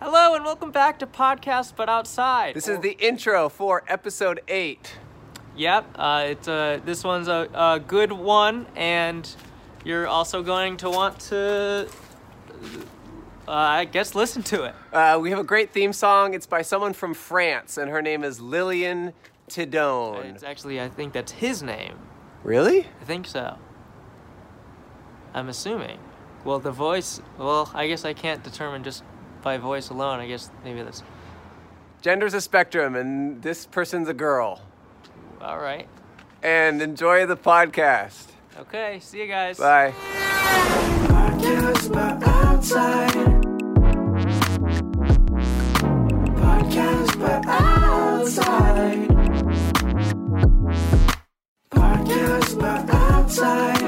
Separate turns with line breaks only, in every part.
Hello and welcome back to Podcast But Outside.
This is the intro for episode eight.
Yep, uh, it's uh, this one's a, a good one, and you're also going to want to, uh, I guess, listen to it.
Uh, we have a great theme song. It's by someone from France, and her name is Lillian Tidone.
It's actually, I think that's his name.
Really?
I think so. I'm assuming. Well, the voice. Well, I guess I can't determine just by voice alone. I guess maybe that's
Gender's a spectrum, and this person's a girl.
all right.
And enjoy the podcast.
Okay, see you guys.
Bye.
Podcast but outside. Podcast but outside. Podcast but outside.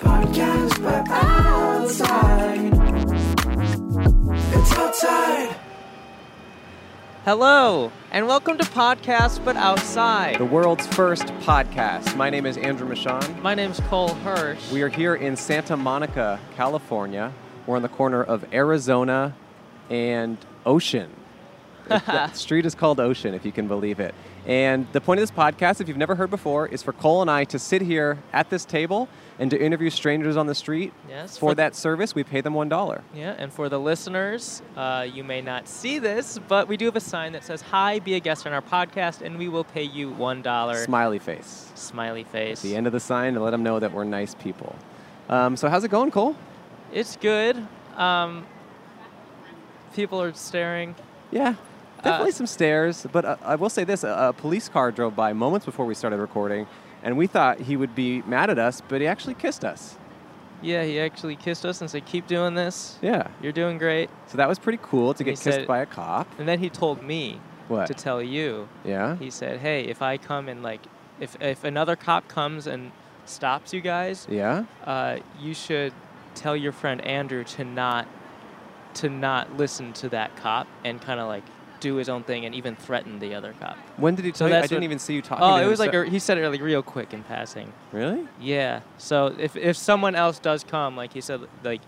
Podcast but outside. It's outside.
Hello and welcome to Podcast But Outside.
the world's first podcast. My name is Andrew Michon.
My name's Cole Hirsch.
We are here in Santa Monica, California. We're on the corner of Arizona and Ocean. the street is called Ocean, if you can believe it. And the point of this podcast, if you've never heard before, is for Cole and I to sit here at this table and to interview strangers on the street.
Yes,
For
for-
that service, we pay them one dollar.
Yeah, and for the listeners, uh, you may not see this, but we do have a sign that says, Hi, be a guest on our podcast, and we will pay you $1.
Smiley face.
Smiley face.
The end of the sign to let them know that we're nice people. Um, so how's it going, Cole?
It's good. Um, people are staring.
Yeah, definitely some stairs. But uh, I will say this: a, a police car drove by moments before we started recording, and we thought he would be mad at us, but he actually kissed us.
Yeah, he actually kissed us and said, Keep doing this.
Yeah.
You're doing great.
So that was pretty cool to
He
get kissed
said-
by a cop.
And then he told me
What?
to tell you.
yeah.
He said, Hey, if I come and, like, if, if another cop comes and stops you guys,
yeah.
uh, you should tell your friend Andrew to not to not listen to that cop and kind of like do his own thing and even threaten the other cop.
When did he
So
tell you? I
that's
didn't
what-
even see you talking.
Oh,
to
it
him,
was like
so-
a, he said it like real quick in passing.
really?
Yeah. So if if someone else does come, like he said, like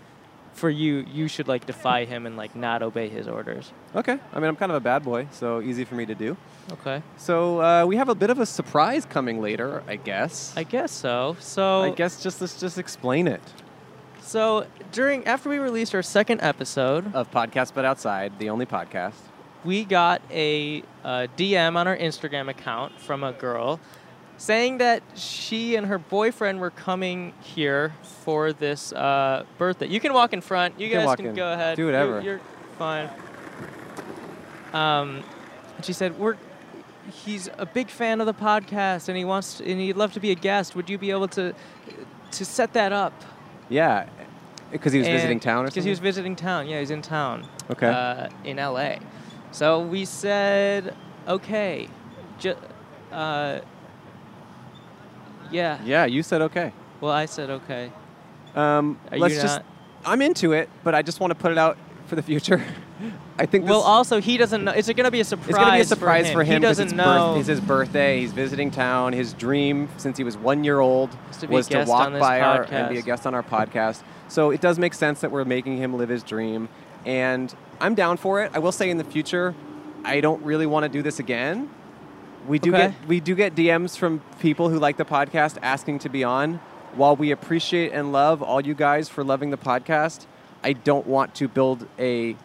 for you, you should like defy him and like not obey his orders.
Okay. I mean, I'm kind of a bad boy, so easy for me to do.
Okay.
So uh, we have a bit of a surprise coming later, I guess.
I guess so. So
I guess just let's just explain it
so during after we released our second episode,
of podcast, but outside the only podcast.
we got a, uh DM on our Instagram account from a girl saying that she and her boyfriend were coming here for this uh, birthday. You can walk in front. You,
can
guys
walk
can
in.
go ahead.
Do
You-
whatever.
You're fine. Um, and she said, "We're." He's a big fan of the podcast, and he wants, and he'd love to be a guest. Would you be able to, to set that up?
Yeah, because he was visiting town or something.
Because he was visiting town. Yeah, he's in town.
Okay.
Uh, in LA. So we said, okay, ju- uh, yeah.
yeah, you said okay.
Well, I said okay.
Um,
Are
let's
you
just.
not-
I'm into it, but I just want to put it out for the future. I think this,
well, also he doesn't know. It's going to be a surprise.
it's going to be a surprise for him.
He
'cause
doesn't
it's
know.
Birth, it's his birthday. He's visiting town. His dream since he was one year old
Is to be a
was to
guest
walk
on this
by our and be a
podcast.
guest on our podcast. So it does make sense that we're making him live his dream, and I'm down for it. I will say in the future, I don't really want to do this again. We do
Okay.
get we do get DMs from people who like the podcast asking to be on. While we appreciate and love all you guys for loving the podcast, I don't want to build a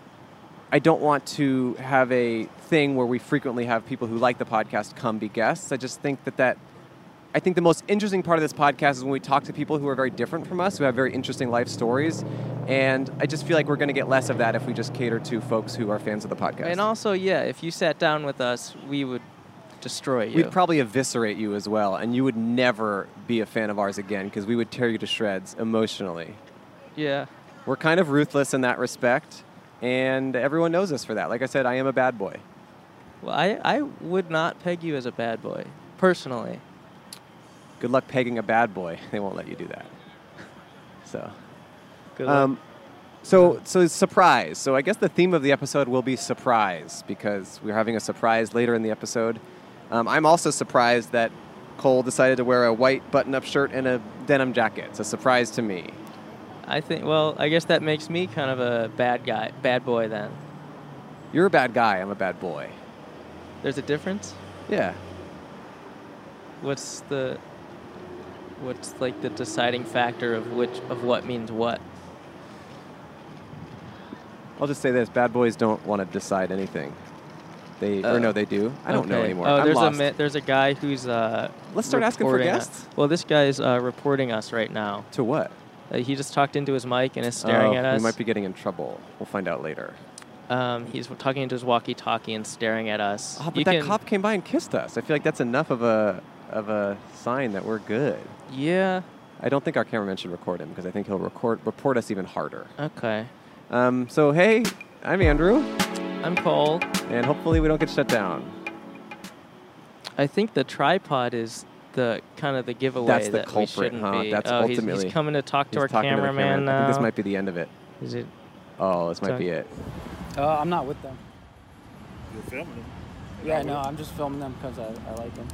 I don't want to have a thing where we frequently have people who like the podcast come be guests. I just think that that I think the most interesting part of this podcast is when we talk to people who are very different from us, who have very interesting life stories, and I just feel like we're going to get less of that if we just cater to folks who are fans of the podcast.
and also, yeah, if you sat down with us, we would destroy you.
We'd probably eviscerate you as well, and you would never be a fan of ours again because we would tear you to shreds emotionally.
yeah.
We're kind of ruthless in that respect, and everyone knows us for that. Like I said, I am a bad boy.
Well, I, I would not peg you as a bad boy, personally.
Good luck pegging a bad boy. They won't let you do that. So,
Good luck.
um, so, so it's surprise. So I guess the theme of the episode will be surprise because we're having a surprise later in the episode. Um, I'm also surprised that Cole decided to wear a white button-up shirt and a denim jacket. It's a surprise to me.
I think. Well, I guess that makes me kind of a bad guy, bad boy. Then
You're a bad guy. I'm a bad boy.
there's a difference.
Yeah.
What's the what's like the deciding factor of which of what means what?
I'll just say this: bad boys don't want to decide anything. They
Uh,
or no, they do. I don't know
Okay.
anymore.
Oh,
I'm
there's
lost.
a ma- there's a guy who's uh.
Let's start asking for
reporting us-
guests.
well, this guy's uh, reporting us right now.
to what?
Uh, he just talked into his mic and is staring
Oh,
at us.
We might be getting in trouble. We'll find out later.
um, he's talking into his walkie-talkie and staring at us.
Oh, but
You
that
can-
cop came by and kissed us. I feel like that's enough of a of a sign that we're good.
Yeah.
I don't think our cameraman should record him because I think he'll record report us even harder.
Okay.
Um, so hey, I'm Andrew,
I'm Cole.
and hopefully we don't get shut down.
I think the tripod is the kind of the giveaway
That's the
that we
culprit,
shouldn't
huh?
be.
That's
oh, he's- he's,
ultimately-
coming to talk to
He's
our
talking the
cameraman uh,
I
now.
think this might be the end of it.
Is it?
Oh, this might
Sorry.
be it.
Uh, I'm not with them.
You're filming them.
Yeah, no, I'm just filming them because I, I like them.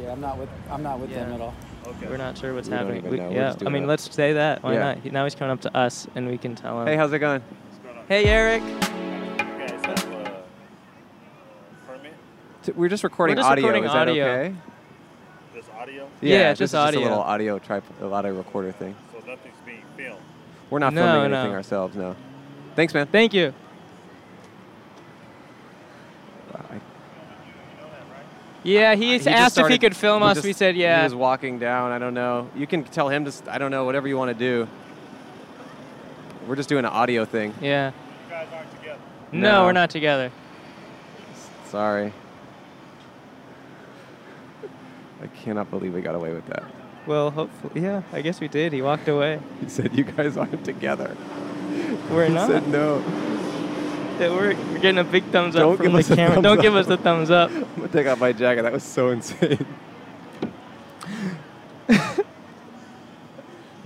yeah, I'm not with I'm not with them
Yeah.
at all.
Okay.
We're not sure what's
We don't
happening.
even know. We're
yeah.
just
I
doing
mean,
it.
let's say that. Why
Yeah.
not? He- Now he's coming up to us, and we can tell him.
Hey, how's it going?
What's going on?
Hey, Eric.
You guys have a uh, permit?
T- We're just recording
just
audio.
recording
Is that
audio.
okay?
There's audio,
Yeah,
this
just
is just a
audio.
little audio tripod, a audio recorder thing.
so nothing's being filmed.
We're not
No,
filming
no.
anything ourselves, no. Thanks, man.
Thank you. Yeah,
Uh,
he
He
s-
just
asked if he
started-
could film
he
us.
just-
we said
He
yeah.
was walking down. I don't know. You can tell him to. s- I don't know. Whatever you want to do. We're just doing an audio thing.
Yeah.
You guys aren't together.
No,
No.
we're not together.
Sorry. I cannot believe we got away with that.
Well, hopefully, yeah. I guess we did. He walked away.
He said you guys aren't together.
We're
He
not.
said no.
That we're, we're getting a big thumbs up
Don't
from
give
the
us a
camera.
thumbs
Don't
up.
give us a thumbs up.
I'm gonna take off my jacket. That was so insane.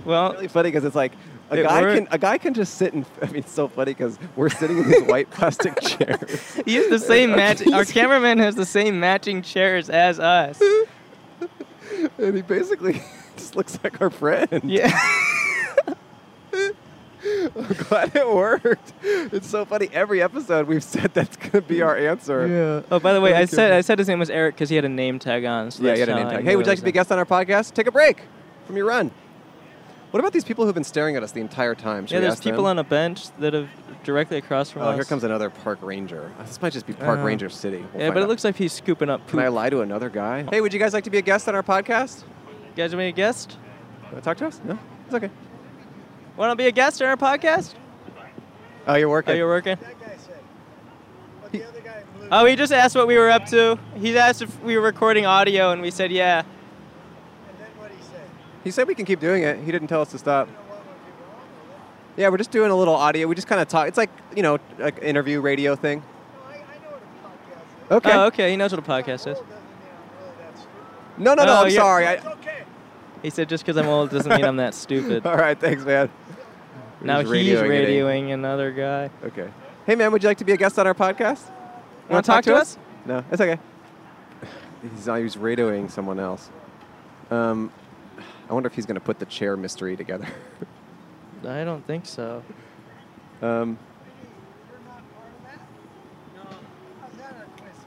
Well,
really funny because it's like a
It
guy
worked.
can a guy can just sit and I mean it's so funny because we're sitting in these white plastic chairs.
He has the same
Our
match. Our
keys-
cameraman has the same matching chairs as us.
and he basically just looks like our friend.
Yeah.
I'm glad it worked. It's so funny. Every episode we've said that's gonna be our answer.
Oh, by the way, I
Okay.
said I said his name was Eric because he had a name tag on. So
Yeah,
that's
you had a
how
name
I
tag.
knew
Hey,
it
would you like
was
to be a
him.
guest on our podcast? Take a break from your run. What about these people who've been staring at us the entire time? Should
Yeah,
we
there's
ask them?
people on a bench that have directly across from
Oh,
us.
here comes another park ranger. This might just be Park
Uh,
Ranger City. We'll
yeah,
find
but it
out.
looks like he's scooping up
Can I
poop.
lie to another guy? Hey, would you guys like to be a guest on our podcast?
You guys want to be a guest?
Wanna talk to us? No, it's okay.
Want to be a guest on our podcast?
Oh, you're
Oh,
working.
you're working.
that guy said. What the other guy in blue
Oh, he just asked what we were up to. He asked if we were recording audio, and we said yeah.
and then what he said.
he said we can keep doing it. He didn't tell us to stop.
I don't know what would be wrong with it.
Yeah, we're just doing a little audio. We just kind of talk. It's like you know, like interview radio thing.
No, I, I know what a podcast is.
Okay.
Oh, okay. He knows what a podcast
I'm
is.
old, doesn't mean I'm really that stupid.
No, no, no.
Oh,
I'm
yeah.
sorry. I,
It's okay.
He said just because I'm old doesn't mean I'm that stupid.
all right, thanks, man. We're
Now
just
he's
it in.
radioing another guy.
Okay. Hey, man, would you like to be a guest on our podcast?
Wanna talk to us?
No, it's okay. He's not, he's radioing someone else. Um, I wonder if he's going to put the chair mystery together.
I don't think so.
um,
You're not part of that? No. How's that a coincidence?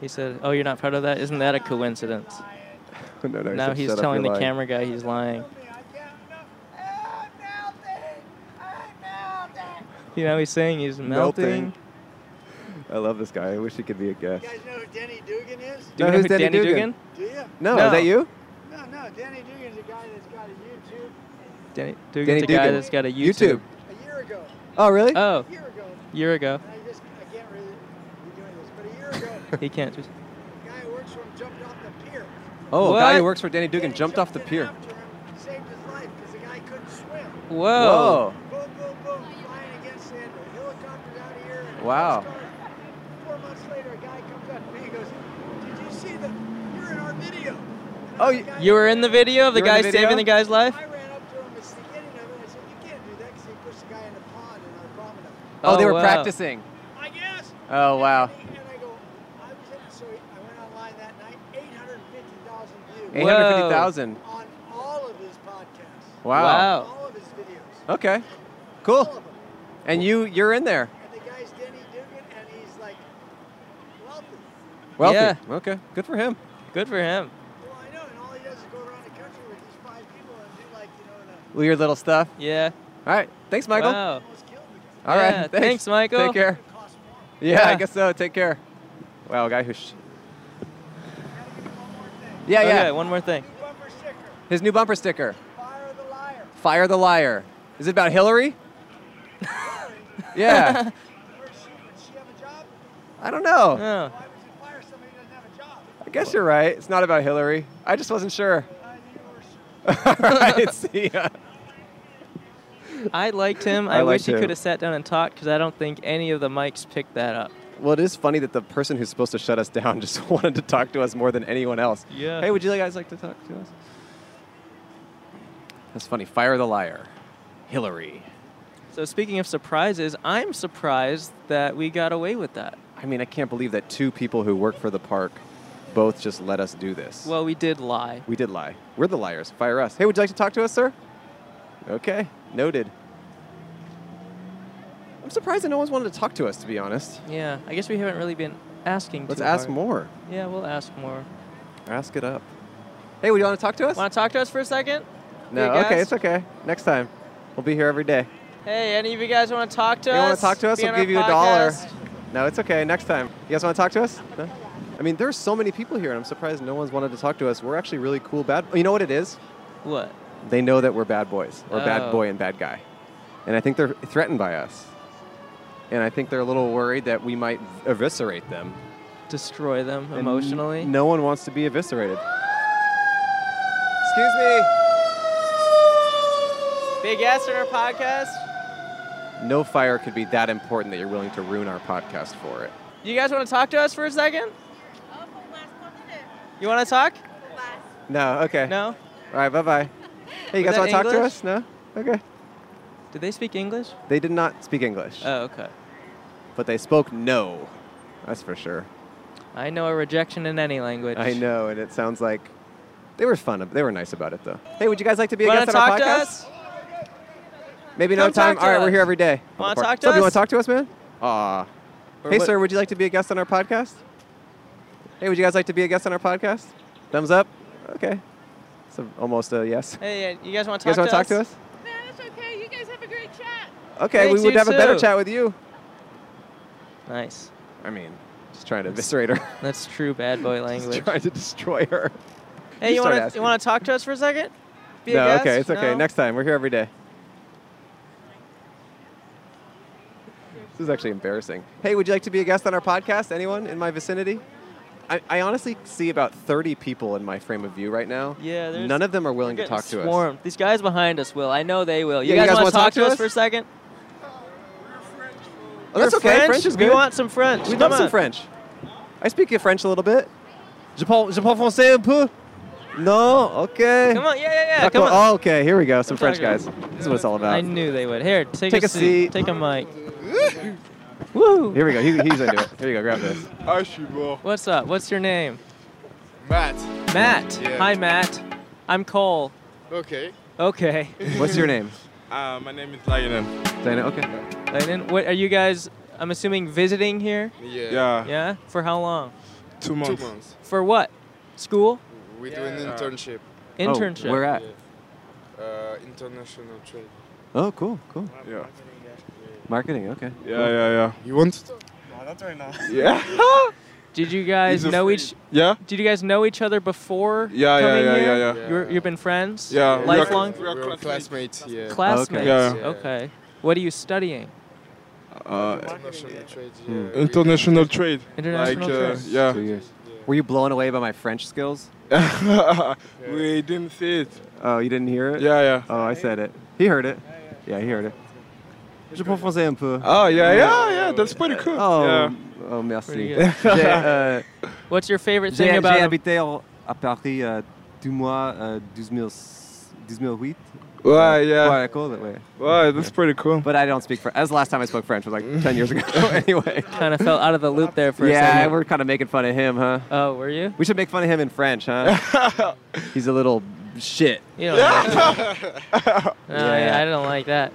He said, "Oh, you're not proud of that? Isn't that a coincidence?"
no, no, he
Now
said,
he's
"Shut up,
telling
you're
the
lying."
camera guy he's lying.
Tell me, I can't know. I'm melting. I'm melting.
You know, he's saying he's melting.
Melting. I love this guy. I wish he could be a guest.
You guys know who Denny Dugan is?
Do
No,
you know
who's
who
Danny
Danny,
Dugan?
Dugan?
Do you?
No,
No.
is that you?
No, no. Denny Dugan's a guy that's got a YouTube.
Danny Dugan's
Danny
a guy
Dugan.
that's got a
YouTube.
YouTube.
A year ago.
Oh, really?
Oh,
A year ago.
year ago.
And I just, I can't really be doing this. But a year ago,
He can't. just-
The guy who works for him jumped off the pier.
oh, a guy who
What?
works for Danny Dugan
Danny
jumped off the
in
pier.
After him, saved his life because the guy couldn't swim.
Whoa.
Boom, boom, boom, flying against the end. The helicopter's out of here. And the
Wow.
Coast Guard. Four months later, a guy comes up to me and goes, Did you see the, you're in our video. And
Oh,
I'm the
you-
guy
You
who-
were in the video of the
You were
guy
in the video?
saving the guy's life.
I ran up to him at the beginning of it. I said, You can't do that because he pushed the guy in the pond in our promenade.
Oh, they were
wow.
practicing.
I guess.
Oh, wow.
And I go, I was in it. So I went online that night, 850,000 views
Whoa.
850,000.
on all of his podcasts.
Wow.
Wow.
All of his
Okay. Cool.
All of them.
And you you're in there.
And the guy's Denny Dugan, and he's like wealthy.
Wealthy.
Yeah.
Okay. Good for him.
Good for him.
Well, I know, and all he does is go around the country with these five people and do like, you know, the
Weird little stuff.
Yeah.
All right. Thanks, Michael. All
Wow.
almost killed the guy.
right.
Yeah, thanks, Michael.
Take care.
It cost more.
Yeah, I
Yeah.
guess so. Take care. Wow, guy who. Sh-
Gotta give you one more thing.
yeah,
okay,
yeah.
one more thing.
New bumper sticker.
His new bumper sticker.
Fire the liar.
Fire the liar. Is it about Hillary? yeah.
Where's she? Does she have a job?
I don't know.
Oh.
Why would you fire somebody who doesn't have a job?
I guess you're right. It's not about Hillary. I just wasn't sure.
I knew you were sure.
All right. See ya.
I liked him.
I
I,
liked
wish he
him.
could have sat down and talked because I don't think any of the mics picked that up.
Well, it is funny that the person who's supposed to shut us down just wanted to talk to us more than anyone else.
Yeah.
Hey, would you guys like to talk to us? That's funny. Fire the liar. Hillary.
So speaking of surprises, I'm surprised that we got away with that.
I mean, I can't believe that two people who work for the park both just let us do this.
Well, we did lie.
we did lie. We're the liars. Fire us. Hey, would you like to talk to us, sir? Okay. Noted. I'm surprised that no one's wanted to talk to us, to be honest.
Yeah. I guess we haven't really been asking.
Let's
too
ask
hard.
more.
Yeah, we'll ask more.
Ask it up. Hey, would you want to talk to us?
Want to talk to us for a second?
no.
Big
Okay,
ass?
it's okay. Next time. We'll be here every day.
Hey, any of you guys want to talk to
You
us?
want to talk to us?
Be
We'll
on our
give you a dollar.
podcast?
No, it's okay. Next time. You guys want to talk to us? No? I mean, there's so many people here, and I'm surprised no one's wanted to talk to us. We're actually really cool bad. You know what it is?
What?
They know that we're bad boys, or bad
Oh.
boy and bad guy, and I think they're threatened by us. And I think they're a little worried that we might eviscerate them.
Destroy them
And
emotionally?
no one wants to be eviscerated. Excuse me.
Big ass in our podcast?
No fire could be that important that you're willing to ruin our podcast for it.
You guys want to talk to us for a second?
Oh, com mais quanto
You want to talk?
Com mais.
No. Okay.
No?
All right, bye bye. Hey, you
Was
guys want
that
to talk to
English?
us? No? Okay.
Did they speak English?
They did not speak English,
Oh, okay.
but they spoke no. That's for sure.
I know a rejection in any language.
I know, and it sounds like they were fun. ab- They were nice about it, though. Hey, would you guys like to be a
Want
guest
to
on our
talk to
podcast?
us?
Maybe
Come
no time.
talk to
All right, we're
us.
here every day.
Wanna
On the park.
talk to
so, You
us?
want to talk to us, man? Aw.
Or
Hey,
what-
sir, would you like to be a guest on our podcast? Hey, would you guys like to be a guest on our podcast? Thumbs up. Okay. It's a, almost a yes.
Hey, uh, you guys want to
you guys
talk
want to
to
talk
us?
to us?
No, it's okay. You guys have a great chat.
Okay,
Thanks,
we would
you
have a better
too.
chat with you.
Nice.
I mean, just trying to eviscerate her.
That's true bad boy language.
Just trying to destroy her.
Hey, you
start
want to
asking.
you want to talk to us for a second? Be a
no,
guest?
okay, it's okay.
No?
Next time, we're here every day. This is actually embarrassing. Hey, would you like to be a guest on our podcast? Anyone in my vicinity? I, I honestly see about 30 people in my frame of view right now.
Yeah, there's-
None of them are willing
We're
to talk
getting
to us.
swarmed. These guys behind us will. I know they will.
Yeah,
You
you guys wanna
guys, want to
talk
talk
to
to us
us?
for a second?
Oh, that's
We're
okay. French is good.
We want some French.
We
Come
love some
on.
French. I speak French a little bit. Je parle, je parle français un peu. No, okay.
Come on, yeah, yeah, yeah.
Not
Come
go-
on.
Oh, okay, here we go. Some
I'm
French
talking.
guys. This is what it's all about.
I knew they would. Here, take,
Take a
a,
seat.
Take a mic. Woo!
Here we go. He, he's into it. Here you go. Grab this.
I should go.
What's up? What's your name?
Matt.
Matt.
Yeah.
Hi, Matt. I'm Cole.
Okay.
Okay.
What's your name?
Uh, my name is Lionel.
Dana. Okay.
And then, what are you guys? I'm assuming visiting here.
Yeah. Yeah.
Yeah. For how long?
Two months. Two months.
For what? School?
We do
uh,
an internship,
Internship.
Oh, where at?
uh, international trade.
Oh, cool, cool.
Yeah.
Marketing. Okay.
Yeah, yeah, yeah.
You want it?
Yeah.
Did you guys
He's a
know
freak.
each?
Yeah.
Did you guys know each other before?
Yeah, yeah,
coming
yeah,
here?
yeah,
yeah.
You're, you've been friends.
Yeah, we are-
Lifelong
We are
We're
classmates.
classmates. Yeah.
classmates.
Yeah.
Yeah.
Okay. What are you studying?
Uh,
international trade. Yeah. we-
international trade.
International
like,
trade.
Uh,
Two
yeah.
years. Were you blown away by my French skills?
we didn't see it.
Oh, you didn't hear it?
Yeah, yeah.
Oh, I said it. He heard it. Yeah, he heard it. Je parle français un peu.
Oh, yeah, yeah, yeah. That's pretty cool.
Oh,
Yeah.
oh,
Pretty
merci.
good.
J'ai, euh,
What's your favorite
j'ai-
thing
j'ai
about?
uh, habité en- à Paris euh, deux mois, euh, 2000, 2008,
Wow, yeah.
Quite cool that way.
Wow, that's pretty cool.
But I don't speak French. As the last time I spoke French was like 10 years ago. anyway.
Kind of fell out of the loop there for a
Yeah,
second.
we're kind of making fun of him, huh?
oh, were you?
We should make fun of him in French, huh? He's a little shit.
You don't like that. no,
Yeah.
I, I don't like that.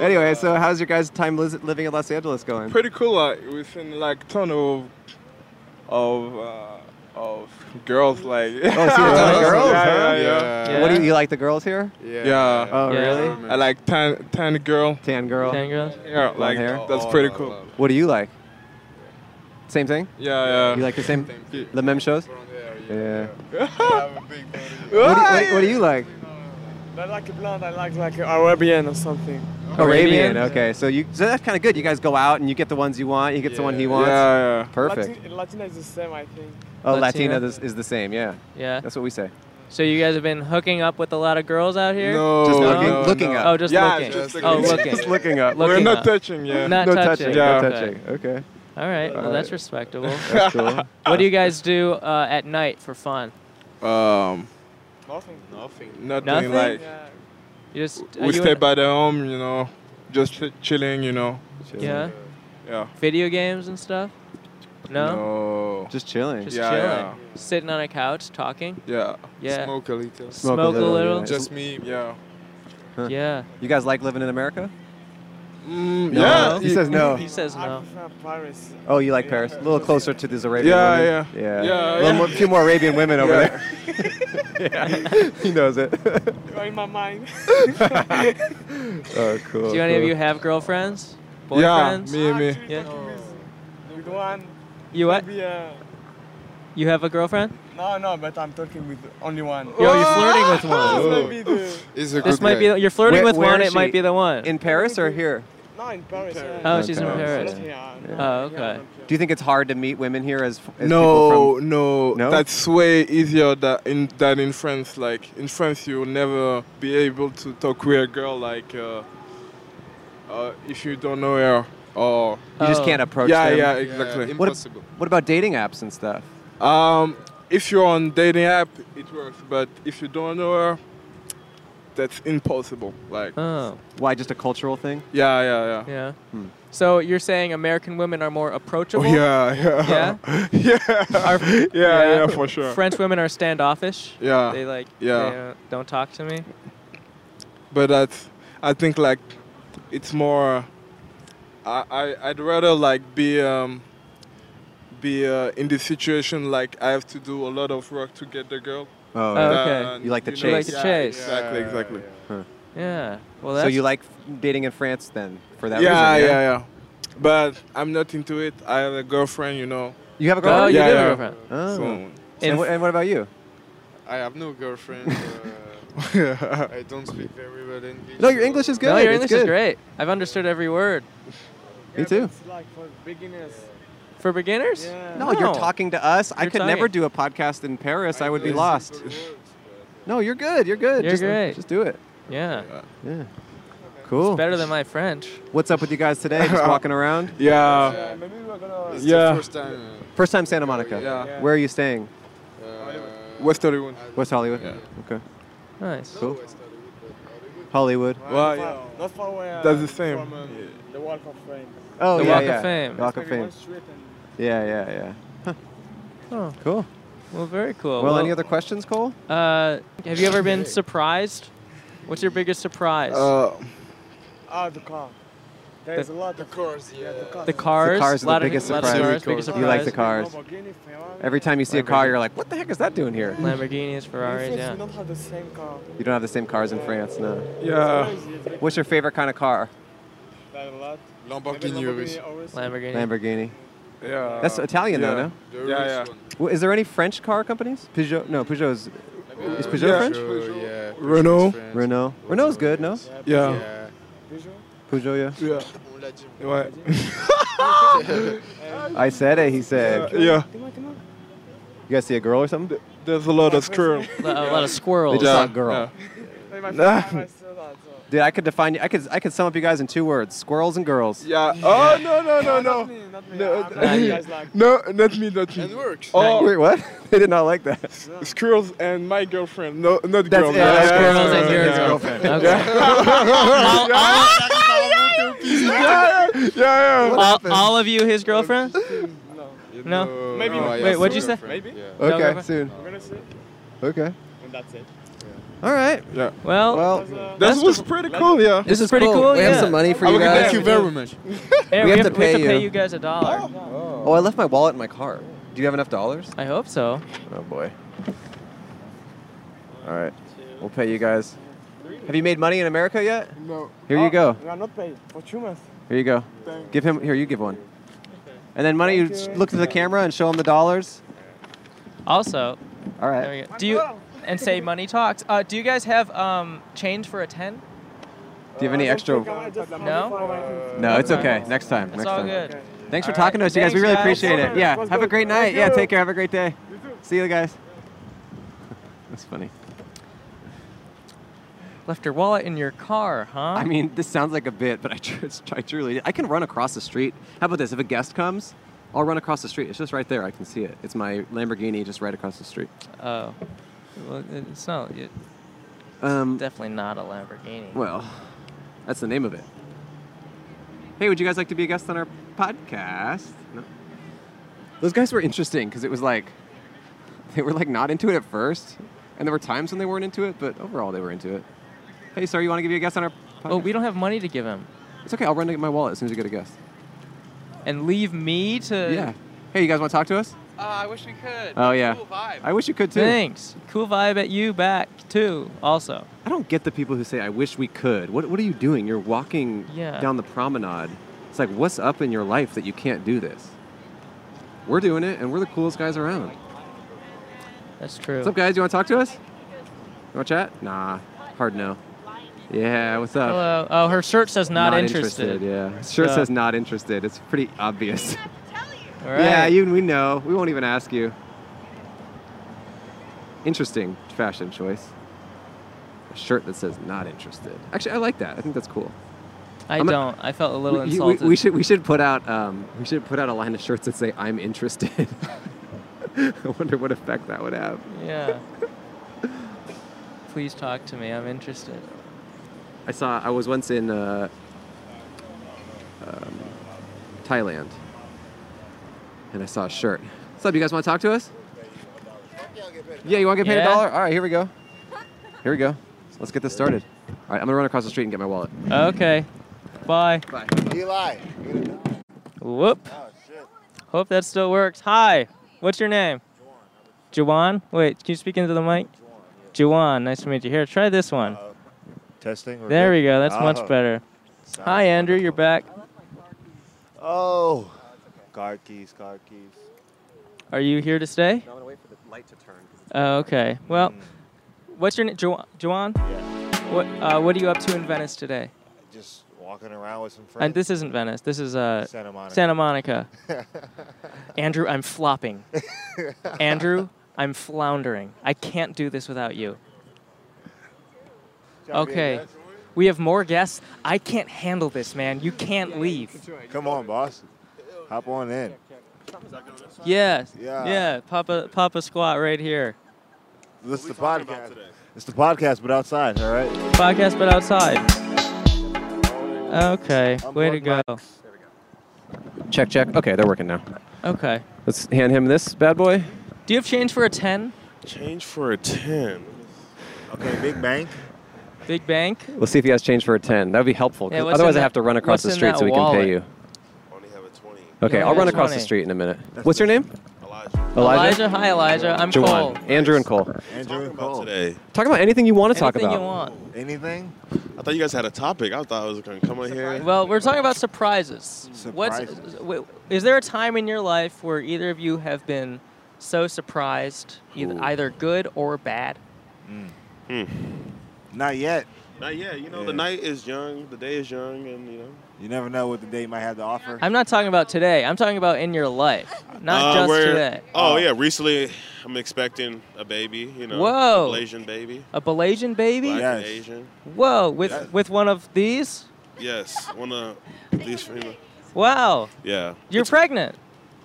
Anyway, so how's your guys' time lis- living in Los Angeles going?
Pretty cool. Like within like ton of of uh, of girls. Like
Oh, so you're a ton of girls,
yeah,
huh?
yeah, yeah.
Yeah.
What do you, you like the girls here?
Yeah.
Yeah.
Oh,
Yeah.
really?
I like tan tan girl.
Tan girl.
Tan girls?
Yeah, like
hair?
that's pretty cool.
What do you like? Same thing?
Yeah, yeah.
You like the same, the meme shows? Yeah. Hmm. What do, you- what, what do you like?
I like a blonde. I like like Arabian or something.
Arabian.
Okay, so you so that's kind of good. You guys go out and you get the ones you want. You get the one he wants.
Yeah,
Perfect.
Latin, Latina is the same, I think.
Oh,
Latina.
Latina is, is the same. Yeah,
Yeah.
that's what we say.
So you guys have been hooking up with a lot of girls out
yeah.
here?
No,
Just looking-
no,
looking
no.
up.
Oh, just
yeah,
looking.
Just
Oh, looking.
Just looking up. We're
Looking
not
up.
touching. Yeah.
Not
no
touching.
Yeah.
No
Okay.
touching. Okay,
All right. Well, that's
Alright.
respectable.
that's cool.
what do you guys do uh, at night for fun?
um,
Nothing.
nothing,
Nothing?
like
You just are
we
you
stay
in-
by the home, you know, just ch- chilling, you know.
Yeah.
Yeah.
Video games and stuff. No.
No.
Oh. Just chilling.
Just
Yeah,
chilling.
yeah.
Sitting on a couch talking.
Yeah.
Yeah.
Smoke a little.
Smoke, a little.
yeah.
Just me.
Yeah.
Yeah.
you guys like living in America?
Mm,
No.
Yeah.
He says no.
He says
I
no.
prefer Paris.
Oh, you like Paris? A little closer to these Arabian
Yeah,
women.
yeah.
yeah,
Yeah,
A little
yeah.
more- few more Arabian women over
Yeah.
there. yeah, he knows it.
You're in my mind.
oh, cool.
Do any of
cool.
you have girlfriends?
Yeah.
Boyfriends?
Me and me.
Actually,
Yeah.
talking with- With one.
You what?
Maybe, uh,
You have a girlfriend?
no, no, but I'm talking with only one.
Oh,
Yo, you're flirting with one.
Oh.
Maybe the,
He's a
This
good
might be.
guy.
You're flirting
Where-
with
where
one.
is
It might
she?
be the one.
in Paris or here?
no, in Paris. yeah.
oh, she's in
Okay.
Paris.
Not here, no,
Oh,
here,
okay.
not here.
Do you think it's hard to meet women here as, as people
No,
from?
no,
No?
That's way easier than in, than in France. Like in France, you'll never be able to talk with a girl like uh, uh, if you don't know her or
You just
Oh.
can't approach
yeah,
them.
yeah,
Yeah,
exactly.
What,
impossible.
what about dating apps and stuff?
Um, if you're on dating app, it works, but if you don't know her, that's impossible. Like
Oh,
Why? Just a cultural thing?
yeah, yeah, yeah.
yeah. So you're saying American women are more approachable?
Hmm. Oh yeah, yeah, yeah, yeah,
Are-
yeah, yeah, for sure.
French women are standoffish.
yeah,
They like.
Yeah.
They, uh, don't talk to me.
but that's I think like it's more I, I I'd rather like be um be uh, in this situation like I have to do a lot of work to get the girl.
Oh,
Uh,
yeah.
okay.
than,
You like the
know,
You like to
Chase.
chase.
Exactly, exactly.
Yeah. Well, that's
so you like dating in France then for that
yeah,
reason?
yeah, yeah. But I'm not into it. I have a girlfriend, you know.
You have a
Oh,
girlfriend?
you
Yeah,
do have
yeah.
a girlfriend.
Oh.
So,
And,
In-
wh- and what about you?
I have no girlfriend. Uh, I don't speak very well English.
No, your
so-
English is good.
No, your
It's
English
good.
is great. I've understood every word.
Yeah,
Me
but
too.
It's like for beginners.
For beginners?
Yeah.
No, you're
No.
talking to us. I
You're
could never
talking.
do a podcast in Paris. I, would be
It's
lost.
simple words,
No, you're good. You're good.
You're
just,
great.
Just do it.
Yeah.
Yeah. Cool.
Better than my French.
What's up with you guys today? Just walking around.
yeah.
Yeah, maybe we're
but
gonna.
It's
Yeah.
the first time.
First time Santa Monica.
Yeah.
Where are you staying?
Uh, uh,
West 31.
West Hollywood.
Yeah.
Okay.
Nice.
Cool.
West Hollywood, but Hollywood.
Hollywood.
Well,
not
yeah.
far- Not far away. uh,
That's the same.
From, um, The Walk of Fame.
Oh
The
yeah,
Walk of
yeah.
Fame.
Walk of
Maybe one
Fame.
street and
Yeah, yeah, yeah.
Oh,
Cool.
well, very cool.
Well, any other questions, Cole?
Uh, have you ever been surprised? What's your biggest surprise?
Uh,
Ah, the car. There's a lot
The
of
cars, yeah.
the cars.
the cars.
cars are
lot
the
of
biggest
lot of
surprise.
cars, biggest
You like the
surprise.
cars.
Lamborghini, Ferrari.
Every time you see a car, you're like, "What the heck is that doing here?"
Lamborghinis,
In
Ferraris.
France,
Yeah.
We don't have the same car.
You don't have the same cars in France, no.
yeah.
It's crazy, it's like
What's your favorite kind of car?
that a lot. Maybe
Lamborghini Urus.
Lamborghini Urus.
Lamborghini.
Lamborghini.
Yeah.
That's Italian, though,
yeah.
no?
The
Yeah,
Urus
yeah.
one.
Well, is there any French car companies? Peugeot? No, Peugeot is Is
Uh,
Peugeot
yeah.
French?
Peugeot, yeah. Peugeot is
Renault.
French.
Renault. Renault's good, no?
Yeah.
Yeah.
Peugeot.
Peugeot,
Yeah.
On l'a dit.
Yeah. Ouais.
yeah. I said it, he said. You
yeah.
Come on, come on.
guys see a girl or something?
There's a lot of squirrel.
Lo- A lot of
They
squirrels.
just- saw a girl.
Yeah.
They
my first time I saw that. So.
Dude, I could define you. I could I could sum up you guys in two words: squirrels and girls.
Yeah. Oh no no no no. No, uh,
Not you guys like-
no, not me, not me.
It works.
Oh,
Wait, what? they did not like that.
squirrels and my girlfriend. No, not
That's
girl.
it, that's
yeah,
squirrels
yeah,
and your
yeah.
girlfriend.
Okay.
Yeah, yeah, yeah, yeah.
all, all of you, his girlfriend? No?
Oh,
Maybe my-
no, I
Wait,
asked
what'd you
her
say?
Maybe.
Yeah.
Okay,
no.
soon.
I'm gonna say,
Okay.
and that's it.
All right.
Yeah.
Well,
Well,
Uh,
That was pretty cool. Yeah.
this is pretty cool.
We
yeah.
have some money for
I
you
would
guys.
thank
you
very much.
Yeah,
We
we,
have
have
to
we have
pay
to pay
you.
you guys a dollar.
Oh, I left my wallet in my car. Do you have enough dollars?
I hope so.
Oh boy. All right. We'll pay you guys. Have you made money in America yet?
No.
Here
Ah.
you go.
I'm not paid for two months.
Here you go. Give him. Here, you give one. And then money. You s- look to the camera and show him the dollars.
Also,
All
there
right.
we go. Do you and say money talks? Uh, do you guys have um, change for a ten?
Do you have any extra?
No,
No, it's
That's
okay. Next time.
it's
Next
all
time.
good.
Thanks for
All right.
talking to us, you guys. We really
Thanks, guys.
appreciate it. Yeah.
Let's
Have a
go.
great night.
Thank
Yeah.
you.
Take care. Have a great day. See you guys. That's funny.
Left your wallet in your car, huh?
I mean, this sounds like a bit, but I, tr- it's- I truly I can run across the street. How about this? If a guest comes, I'll run across the street. It's just right there. I can see it. It's my Lamborghini just right across the street.
oh, well, it's not. It's
Um,
definitely not a Lamborghini.
well, that's the name of it. Hey, would you guys like to be a guest on our podcast? No. Those guys were interesting because it was like they were like not into it at first, and there were times when they weren't into it, but overall they were into it. Hey, sir, you want to give you a guest on our? podcast?
Oh, we don't have money to give him,
It's okay. I'll run to get my wallet as soon as you get a guest.
and leave me to.
Yeah. Hey, you guys want to talk to us?
Uh, I wish we could.
Oh, yeah.
Cool vibe.
I wish you could too.
Thanks. Cool vibe at you back too. Also,
I don't get the people who say, I wish we could. What, what are you doing? You're walking
Yeah.
down the promenade. It's like, what's up in your life that you can't do this? We're doing it, and we're the coolest guys around.
that's true.
What's up, guys? You want to talk to us? You want to chat? Nah, hard no. Yeah, what's up?
Hello. Oh, her shirt says not,
Yeah, sure
So-
says not interested. It's pretty obvious.
All right.
Yeah, you, we know. We won't even ask you. Interesting fashion choice. A shirt that says not interested. Actually, I like that. I think that's cool.
I
I'm a-
don't. I felt a little
we, you- we-
insulted.
we should we should put out um, we should put out a line of shirts that say I'm interested. I wonder what effect that would have.
Yeah. Please talk to me. I'm interested.
I saw I was once in uh, um, Thailand, and I saw a shirt. What's up? You guys want to talk to us? Yeah, you want to get paid
Yeah.
a dollar? All right, here we go. Here we go. Let's get this started. All right, I'm gonna run across the street and get my wallet.
Okay. Bye.
Bye.
Eli.
Whoop.
Oh,
Hope that still works. Hi. What's your name? Juwan. Wait, can you speak into the mic? Juwan. Nice to meet you. Here, try this one.
Testing. we're
there
good.
we go. That's
Oh,
much better.
sounds
Hi, Andrew. You're
wonderful.
back.
Oh. Car keys, car keys.
Are you here to stay?
I'm gonna wait for the light to turn.
Oh, okay. Well, what's your name? Juwan? Juwan?
Mm. Yeah.
What, uh, what are you up to in Venice today?
Just walking around with some friends.
And this isn't Venice. This is uh,
Santa Monica.
Santa Monica. Andrew, I'm flopping. Andrew, I'm floundering. I can't do this without you.
Shall we
okay.
advance?
We have more guests. I can't handle this, man. You can't leave.
Come on, boss. Hop on in.
Yes.
Yeah.
Yeah. Papa Papa squat right here.
This is the podcast. It's the podcast, but outside. All right.
Podcast but outside. Okay. Way to go.
Unplug
Check, check. Okay, they're working now.
Okay.
Let's hand him this bad boy.
Do you have change for a 10?
Change for a ten.
Okay, Big Bang.
Big bank?
Let's see if he has change for a ten. That would be helpful. 'cause
Yeah, what's
otherwise,
in
I have
that-
to run across
what's
the
in
street
that
so we can
wallet?
pay you.
Only have a twenty.
Okay,
Yeah,
I'll run across
20.
the street in a minute. What's your name?
Elijah.
Elijah. Hi, Elijah. I'm Cole.
Jawan. Andrew and Cole.
Andrew and Cole.
Today.
Talk about anything you want to talk
Anything
about.
you want.
Anything?
I thought you guys had a topic. I thought I was gonna come in here.
Well, we're talking about surprises.
Surprises.
What's w- is there a time in your life where either of you have been so
Hmm.
surprised, either, either good or bad?
Hmm. Not yet.
But yeah, you know,
Yeah.
the night is young, the day is young, and you know.
You never know what the day might have to offer.
I'm not talking about today. I'm talking about in your life,
Uh,
not just
we're-
today.
Oh yeah, recently I'm expecting a baby. You know,
Whoa.
a Malaysian baby.
A Belasian baby?
Black and Yes. Asian.
Whoa, with
Yes.
with one of these?
Yes, one of these female.
Wow.
Yeah.
You're pregnant.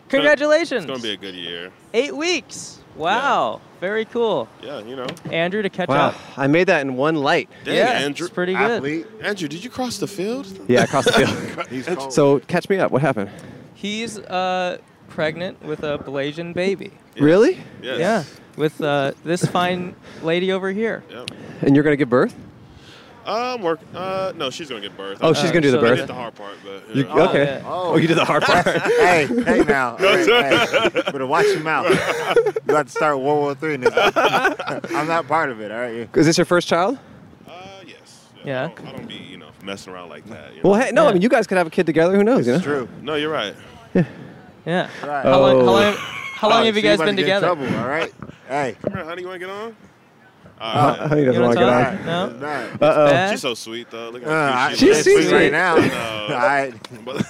Congratulations.
It's gonna be a good year.
Eight weeks. Wow. Very cool.
Yeah, you know.
Andrew to catch
Wow,
up.
I made that in one light.
Dang, Andrew,
it's pretty good.
Andrew, did you cross the field?
Yeah, across the field. so catch me up. What happened?
He's uh, pregnant with a Belasian baby.
Really?
Yes.
Yeah. With uh, this fine lady over here.
And you're gonna give birth?
Um, work. Uh, no, she's gonna get birth.
Oh, she's gonna do the
I
birth.
did the hard part, but
You- okay. Oh. you did the hard part.
hey, hey now.
No,
Hey,
it's-
hey. Better watch your mouth. you about to start World War Three in this. I'm not part of it, all right?
Is this your first child?
Uh,
Yeah.
I don't be, you know, messing around like that. you
Well,
know?
hey, no. I mean, you guys could have a kid together. Who knows? you know?
No, you're right.
Yeah.
Right.
How long, how
Oh.
long, how long have you guys been together?
Hey.
Come here, honey. You wanna get on?
Uh, honey doesn't
You
want to
wanna
get
talk?
on.
No?
Uh oh.
bad.
She's so sweet though. Look
Uh,
how cute she
she's
looks.
sweet She's right now.
And, uh,
All right.
but-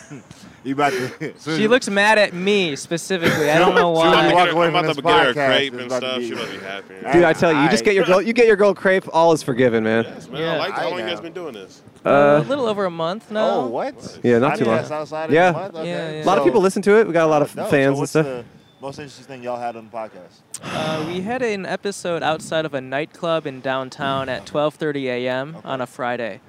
You about to.
She looks mad at me specifically. I don't know
She about to
why.
walk away
I'm
from
about
this
to get her a
podcast.
crepe
It's
and
about to
stuff.
be-
She must be happy.
Dude, I tell you, you just get your girl. You get your girl crepe. All is forgiven, man.
Man, I like how long you guys been doing this.
Uh,
Uh,
a little over a month now.
Oh, what?
Yeah, not too long.
Podcast outside of
yeah.
the month? Okay.
Yeah, yeah.
A lot of
So-
people listen to it. We got a lot of
No, so
fans and
what's
stuff.
the most interesting thing y'all had on the podcast?
Uh, we had an episode outside of a nightclub in downtown at 12:30 a.m. on a Friday.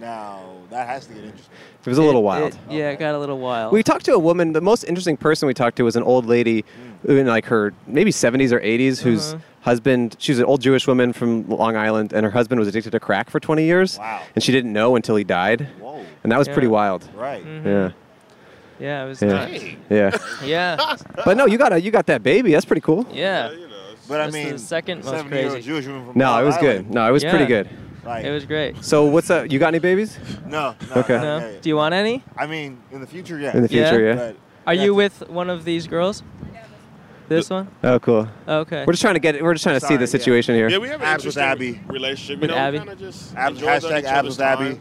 Now that has to get interesting.
It was a little wild.
It- Yeah, it got a little wild.
We talked to a woman. The most interesting person we talked to was an old lady in like her maybe 70s or 80s whose
Uh-huh.
husband, she was an old Jewish woman from Long Island, and her husband was addicted to crack for 20 years.
Wow.
And she didn't know until he died.
Whoa.
And that was pretty
Yeah.
wild.
Right. Mhm.
Yeah.
yeah, it was.
Yeah.
nuts.
Yeah.
Yeah.
But no, you got a, you got that baby. That's pretty cool.
Yeah.
But I
That's
mean,
the second most
70-year-old
crazy.
Jewish woman from
No,
Long
it was
Island.
good. No, it was pretty good.
Like-
it was great.
So what's up? You got any babies?
No, no,
Okay.
no,
No? Do you want any?
I mean, in the future, yeah.
In the future, yeah.
But
Are you with one of these girls? This one?
Oh, cool.
Okay.
We're just trying to get. We're just trying to see
Sorry,
the
yeah.
situation here.
Yeah, we have an
Abs with
interesting
Abby.
relationship.
With
you know,
Abby?
We kinda just
Abs,
enjoy the
hashtag
each
abs
other's
with Abby.
time.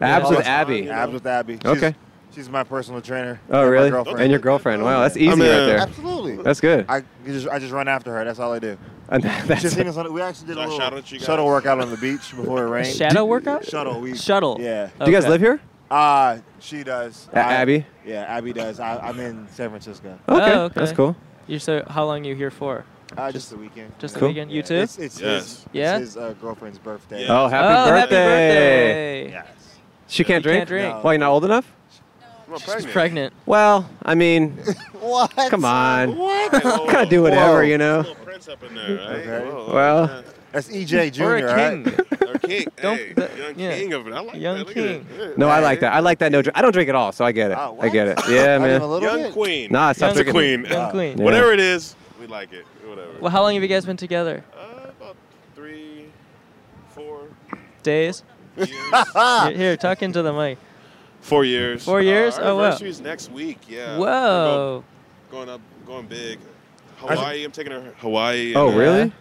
Abs
All
with
the time,
Abby.
Abs with Abby. She's-
Okay.
She's my personal trainer.
Oh,
and my
really?
girlfriend.
And your girlfriend. Wow, that's easy
I
right there.
Absolutely.
That's good.
I just I just run after her. That's all I do.
And that's-
Just even some- we actually did
Should
a
I
little
shout out you guys?
shuttle workout on the beach before it rained.
Shadow workout?
Shuttle. We,
Shuttle.
Yeah.
Do you guys live here?
Uh, she does.
A-
I-
Abby? Oh,
Yeah, Abby does. I, I'm in San Francisco.
Okay, that's cool.
You so how long you here for?
Uh, just the weekend.
Just the
Cool.
weekend.
Yeah,
You too?
It's, it's
yeah.
his, it's
yeah.
his uh, girlfriend's birthday.
Oh, happy
Oh, happy
birthday!
birthday.
She can't
You
drink.
can't drink.
Why you're not old enough?
She's pregnant.
Well, I mean,
What?
come on.
What?
kind of do whatever, you know.
Okay.
Well,
That's EJ Jr.
Or a
right?
Or king. hey, young
yeah.
king of it. I like
Young
that. Look at
king.
that.
no, I like that. I like that. No, drink. I don't drink at all, so I get it. I get it. Yeah,
Not
man.
even a little
Ah, Young
bit?
queen.
Nah, it's not
Young
drinking.
queen.
Young
Uh,
queen.
Whatever it is, we like it. Whatever. Uh,
Well, how long have you guys been together?
Three, four.
Days? here, here, talk into the mic.
Four years.
Four years?
Uh, our
oh, wow.
anniversary's next week. Yeah. We're
Whoa.
go- Going up, going big. Hawaii. I'm taking her to Hawaii.
Oh,
and, uh,
really?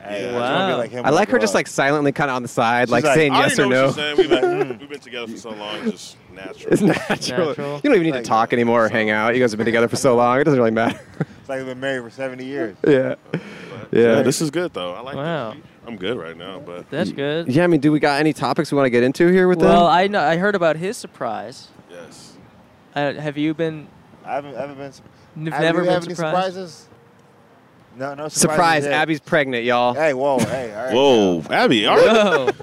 Yeah.
Wow.
I like her just like silently, kind of on the side, like,
She's
saying
I
yes or
already know
no.
what you're saying. "Hmm, We've been, we've been together for so long, it's just natural.
It's natural. You don't even need to talk anymore or hang out. You guys have been together for so long; it doesn't really matter.
It's like we've been married for 70 years.
yeah.
Yeah.
Yeah.
this is good though. I like.
Wow.
This. I'm good right now, but
That's good.
Yeah, I mean, do we got any topics we want to get into here with
Well,
them?
I know. I heard about his surprise.
Yes.
Uh, have you been?
I haven't, I haven't been. sur-
You've
Abby,
never
you
been
have any
surprised?
surprises? No, no surprises.
Surprise!
yet.
Abby's pregnant, y'all.
Hey, whoa, hey, all right.
Whoa, Abby. All right.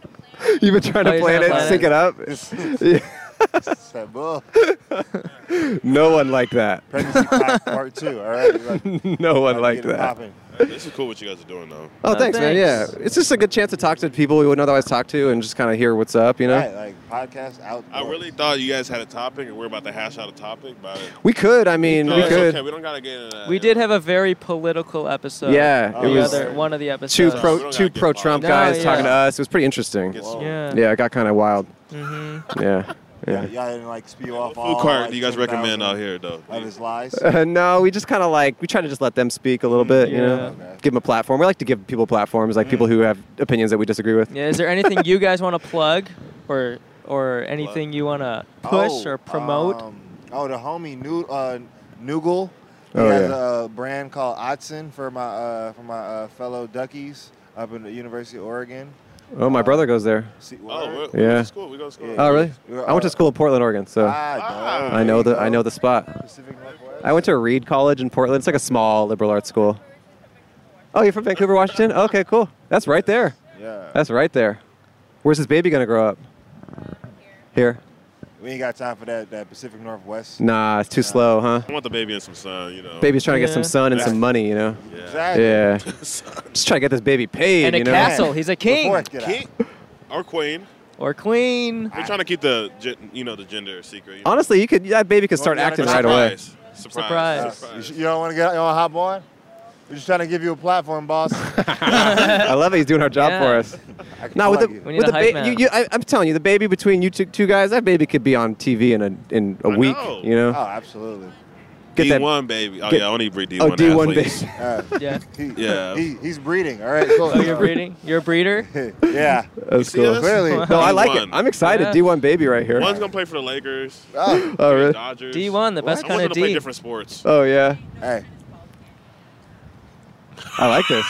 You've been trying
Oh,
to
he's
plan
gonna
it,
plan
sync
it.
it up.
It's that bull.
Yeah. no one liked that.
Pregnancy pack part two, all right?
no one liked
get it
that.
popping.
Uh, this is cool what you guys are doing though.
Oh, thanks, man. Yeah, it's just a good chance to talk to people we wouldn't otherwise talk to and just kind of hear what's up, you know.
Right, like podcast out.
I really thought you guys had a topic, and we're about to hash out a topic. But
We could. I mean,
no,
we
it's
could.
okay. We don't gotta get into that.
We did have a very political episode.
Yeah,
the other one of the episodes.
two pro two pro Trump
No,
guys
yeah.
talking to us. It was pretty interesting.
Get some- Yeah.
yeah, it got kind of wild.
Mhm.
Yeah,
Yeah.
Yeah.
Y'all didn't like spew off all.
Food cart
like,
do you guys
10,000
recommend out here though?
Of his lies.
Uh, no, we just kind of like we try to just let them speak a little bit, you know, give them a platform. We like to give people platforms, like people who have opinions that we disagree with.
Yeah, is there anything you guys want to plug or or anything you want to push
Oh,
or promote?
um, oh, the homie New, uh, Noogle. He
Oh,
has
yeah.
a brand called Otson for my uh, for my uh, fellow Duckies up in the University of Oregon.
Oh, my brother goes there.
See,
oh,
yeah. Oh, really?
uh,
I went to school in Portland, Oregon, so
Ah,
I know the I know the spot. I went to Reed College in Portland. It's like a small liberal arts school. Oh, you're from Vancouver, Washington? Okay, cool. That's right there.
Yeah.
That's right there. Where's his baby gonna grow up? Here.
We ain't got time for that that Pacific Northwest.
Nah, it's too slow, huh?
I want the baby and some sun, you know.
Baby's trying to get some sun and some
Exactly.
money, you know.
Yeah.
Exactly.
Yeah. Just trying to get this baby paid.
And a
you know?
castle. He's
a
King or queen.
Or queen.
We're trying to keep the gen- you know the gender secret. You know?
Honestly, you could that baby could start acting right away.
Surprise.
Surprise. You, you don't want to get you want to hop on? We're just trying to give you a platform, boss.
I love it. He's doing our job
Yeah.
for us.
I can
No, with the,
plug you. We need
with
a
the
hype
baby,
man.
you, you, I, I'm telling you, the baby between you two, two guys, that baby could be on TV in a in a week. You know,
Oh,
Ah,
absolutely.
Get that-
D1 baby. Oh
get-
yeah, I only breed D1.
Oh, D1
athletes.
baby.
Uh,
yeah.
He,
Yeah.
He, he's breeding. All right. Cool.
Oh, you're breeding? You're a breeder?
yeah.
that's
see
cool.
us?
Clearly.
no, I like it.
D1.
I'm excited.
Yeah.
D1 baby right here.
One's gonna play for the Lakers.
Oh,
Oh, really?
Dodgers.
D1, the best
I
kinda
want them to play
D.
different sports.
Oh yeah,
Hey.
I like this.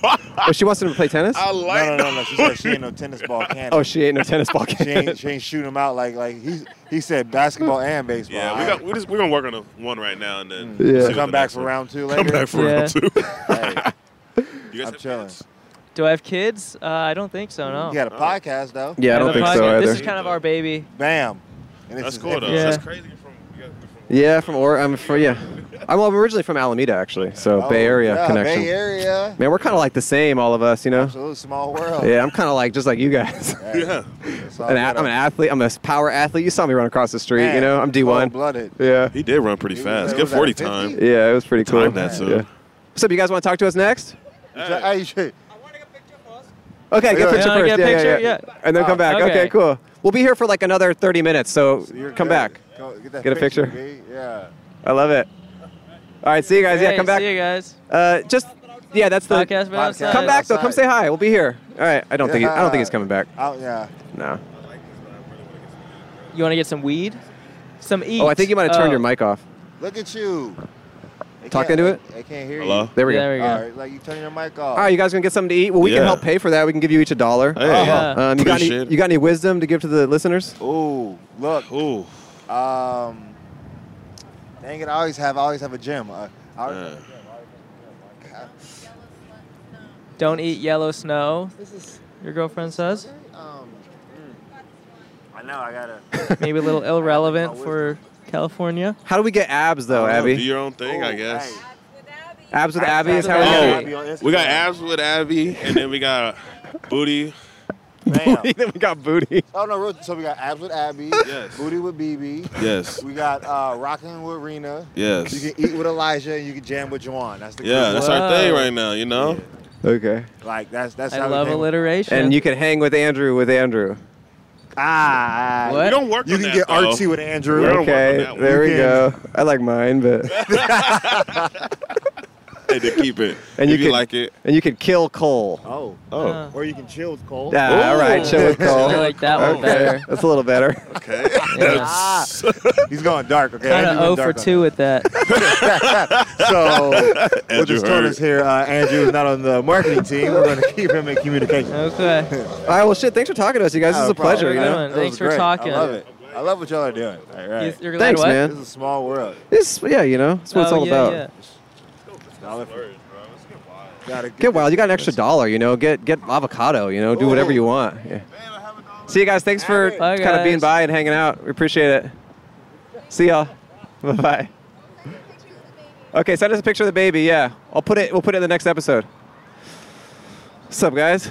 oh, she wants him to play tennis.
like
No, no, no, no. She said she ain't no tennis ball cannon.
Oh, she ain't no tennis ball
She ain't,
cannon.
she ain't shooting him out like like he he said basketball and baseball.
Yeah, we got we just we're gonna work on the one right now and then
Yeah.
see what
Come
the
back
next
for
one-
round two
Come
later?
back for round
Yeah.
two.
You guys I'm chilling.
Do I have kids? Uh, I don't think so, no.
You got a podcast though.
Yeah, I don't
the
think so
podcast- This
either.
is kind of our baby.
Bam. And
That's
is
cool though.
infamous.
That's crazy.
yeah, from or I'm from yeah. I'm, well, I'm originally from Alameda actually, so
Oh,
Bay Area
yeah,
connection.
Bay Area.
Man, we're kind of like the same, all of us, you know.
Absolute small world.
Yeah, I'm kind of like just like you guys.
Yeah.
An a- I'm an athlete. I'm a s- power athlete. You saw me run across the street.
Man,
you know, I'm D1.
cold-blooded.
Yeah.
He did run pretty fast. Good 40 time.
Yeah, it was pretty cool.
Timed that, so-
Yeah. What's up? You guys want to talk to us next?
Hey, hey,
Okay, get
Yeah.
a picture
Yeah,
first.
get a
yeah,
picture,
yeah,
yeah. Oh,
And then come back. Okay.
Okay.
cool. We'll be here for like another 30 minutes, so,
you're
come
good.
back.
Go- get that
a picture.
B. Yeah.
I love it. All right, see you guys. yeah,
Hey,
come back.
see
you guys.
Uh, just yeah, that's the
Podcast but outside.
Come back though. Come say hi. We'll be here. All right. I don't think he, I don't think he's coming back.
Out, yeah.
No.
You want to get some weed? Some e, eat.
Oh, I think you might have turned your mic off.
Look at you. I
Talk
can't-
into it?
I, I can't hear
Hello?
you.
There we go. There we go.
All right, like you turn your mic
All
off.
right, you guys gonna get something to eat? Well, we can
Yeah.
help pay for that. We can give you each a dollar.
Hey.
Uh-huh.
Yeah.
Um, you got any,
Appreciate it.
you got any wisdom to give to the listeners?
Ooh, look. Ooh. Um, dang it! I always have. I always have a gym. Uh, I always have a gym.
Don't eat yellow snow.
This is-
Your girlfriend says.
Um, hmm. I know. I gotta.
Maybe a little irrelevant for California.
How do we get abs though,
I don't know,
Oh, Abby?
Do your own thing,
Oh,
I guess.
Abs with Abby is how
Oh,
we get.
we got abs with Abby, and then we got booty.
then we got booty.
Oh no! real- So we got abs with Abby.
Yes.
Booty with BB.
Yes.
We got uh, rocking with Rena.
Yes.
You can eat with Elijah and you can jam with Juwan. That's the
Yeah,
crew.
that's our thing right now. You know.
Okay.
Like that's that's
I
how
love
we came-
alliteration.
And you can hang with Andrew with Andrew.
Ah,
What? We
don't work
You
on
can
that,
get
though.
artsy with Andrew.
okay, there we go. I like mine, but
Hey, to keep it.
and
If you
could
like it.
and you could kill Cole.
Oh.
Oh.
Or you can chill with Cole.
Yeah, all right, chill with Cole.
I like that one
okay.
better.
That's a little better.
Okay.
That's- He's going dark. Okay.
Kind
Andrew
of 0
went
for
dark
2 with that.
so
Andrew
we'll just tell
Hurd.
us here. Uh, Andrew is not on the marketing team. We're going to keep him in communication.
Okay.
All right, well, shit. Thanks for talking to us, you guys. This is a pleasure. You know.
Thanks for talking.
I love it. I love what y'all are doing. All right.
You're
glad Thanks, what? man.
This is a small world.
It's yeah, you know. That's what it's
Oh,
all
yeah,
about.
yeah. Y'all are- Gotta
Get wild. You got an extra dollar, you know. Get get avocado, you know. Do whatever you want. Yeah. See you guys. Thanks for
Bye,
kind of being
guys.
by and hanging out. We appreciate it. See y'all. Bye bye. Okay, send us a picture of the baby. Yeah, I'll put it. We'll put it in the next episode. What's up, guys?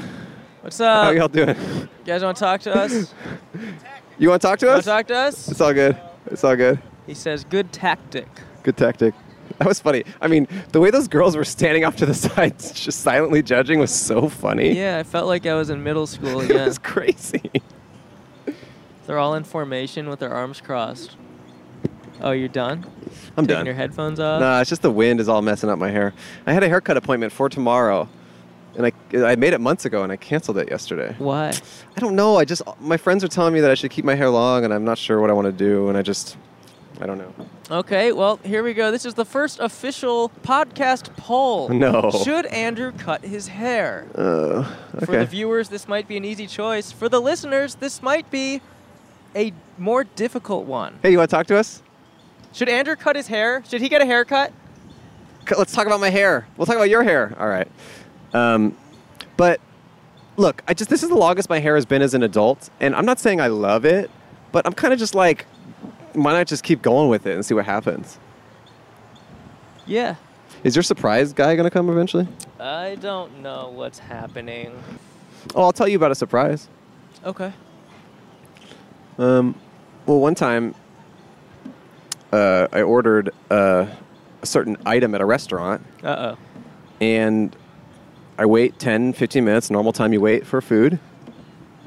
What's up?
How y'all doing?
You guys want to talk to us?
You want to talk to
Wanna
us?
talk to us?
It's all good. It's all good.
He says, good tactic.
Good tactic. That was funny. I mean, the way those girls were standing off to the side, just silently judging, was so funny.
Yeah, I felt like I was in middle school again.
It's crazy.
They're all in formation with their arms crossed. Oh, you're done?
I'm
Taking
done.
your headphones off?
Nah, it's just the wind is all messing up my hair. I had a haircut appointment for tomorrow, and I I made it months ago, and I canceled it yesterday.
Why?
I don't know. I just my friends are telling me that I should keep my hair long, and I'm not sure what I want to do, and I just I don't know.
Okay, well, here we go. This is the first official podcast poll.
No.
Should Andrew cut his hair?
Uh, okay.
For the viewers, this might be an easy choice. For the listeners, this might be a more difficult one.
hey, you want to talk to us?
Should Andrew cut his hair? Should he get a haircut?
C- Let's talk about my hair. We'll talk about your hair. All right. Um, but look, I just this is the longest my hair has been as an adult, and I'm not saying I love it, but I'm kind of just like, why not just keep going with it and see what happens?
Yeah.
Is your surprise guy gonna come eventually?
I don't know what's happening.
Oh, I'll tell you about a surprise.
Okay.
Um, well, one time, uh, I ordered uh, a certain item at a restaurant,
Uh oh.
and I wait 10, 15 minutes, normal time you wait for food.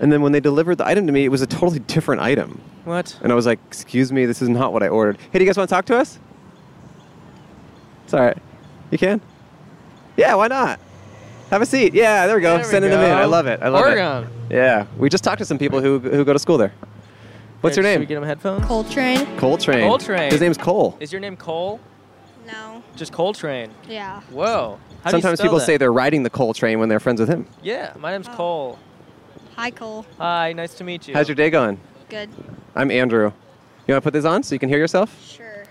And then when they delivered the item to me, it was a totally different item.
What?
And I was like, excuse me, this is not what I ordered. Hey, do you guys want to talk to us? It's all right. You can? Yeah, why not? Have a seat. Yeah, there we go.
There we
Sending them in. I
go.
love it. I love
Oregon.
it. Yeah. We just talked to some people who, who go to school there. What's
Here,
your
Should
name?
we get him headphones?
Coltrane.
Coltrane.
Coltrane.
His name's Cole.
Is your name Cole?
No.
Just Coltrane.
Yeah.
Whoa. How do you
Sometimes
spell
people
that?
say they're riding the Cole train when they're friends with him.
Yeah, my name's Cole.
Oh. Hi, Cole.
Hi, nice to meet you.
How's your day going?
Good.
I'm Andrew. You want to put this on so you can hear yourself?
Sure.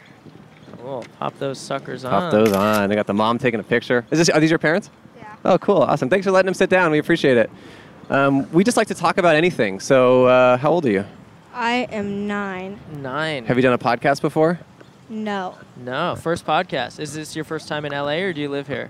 Cool. Pop those suckers on.
Pop those on. I got the mom taking a picture. Is this, are these your parents? Yeah. Oh, cool. Awesome. Thanks for letting them sit down. We appreciate it. Um, we just like to talk about anything. So, uh, how old are you?
I am nine.
Nine.
Have you done a podcast before?
No.
No, first podcast. Is this your first time in LA or do you live here?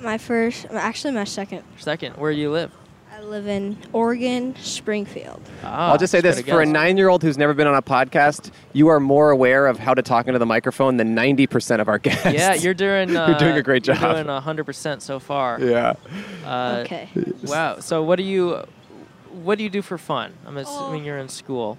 My first, actually, my second.
Second, where do you live?
I live in Oregon, Springfield.
Ah,
I'll just say this for a nine year old who's never been on a podcast, you are more aware of how to talk into the microphone than 90% of our guests.
Yeah, you're doing. Uh,
you're doing a great job.
You're doing hundred percent so far.
Yeah.
Uh,
Okay.
Wow. So what do you, what do you do for fun? I'm
Oh.
assuming you're in school.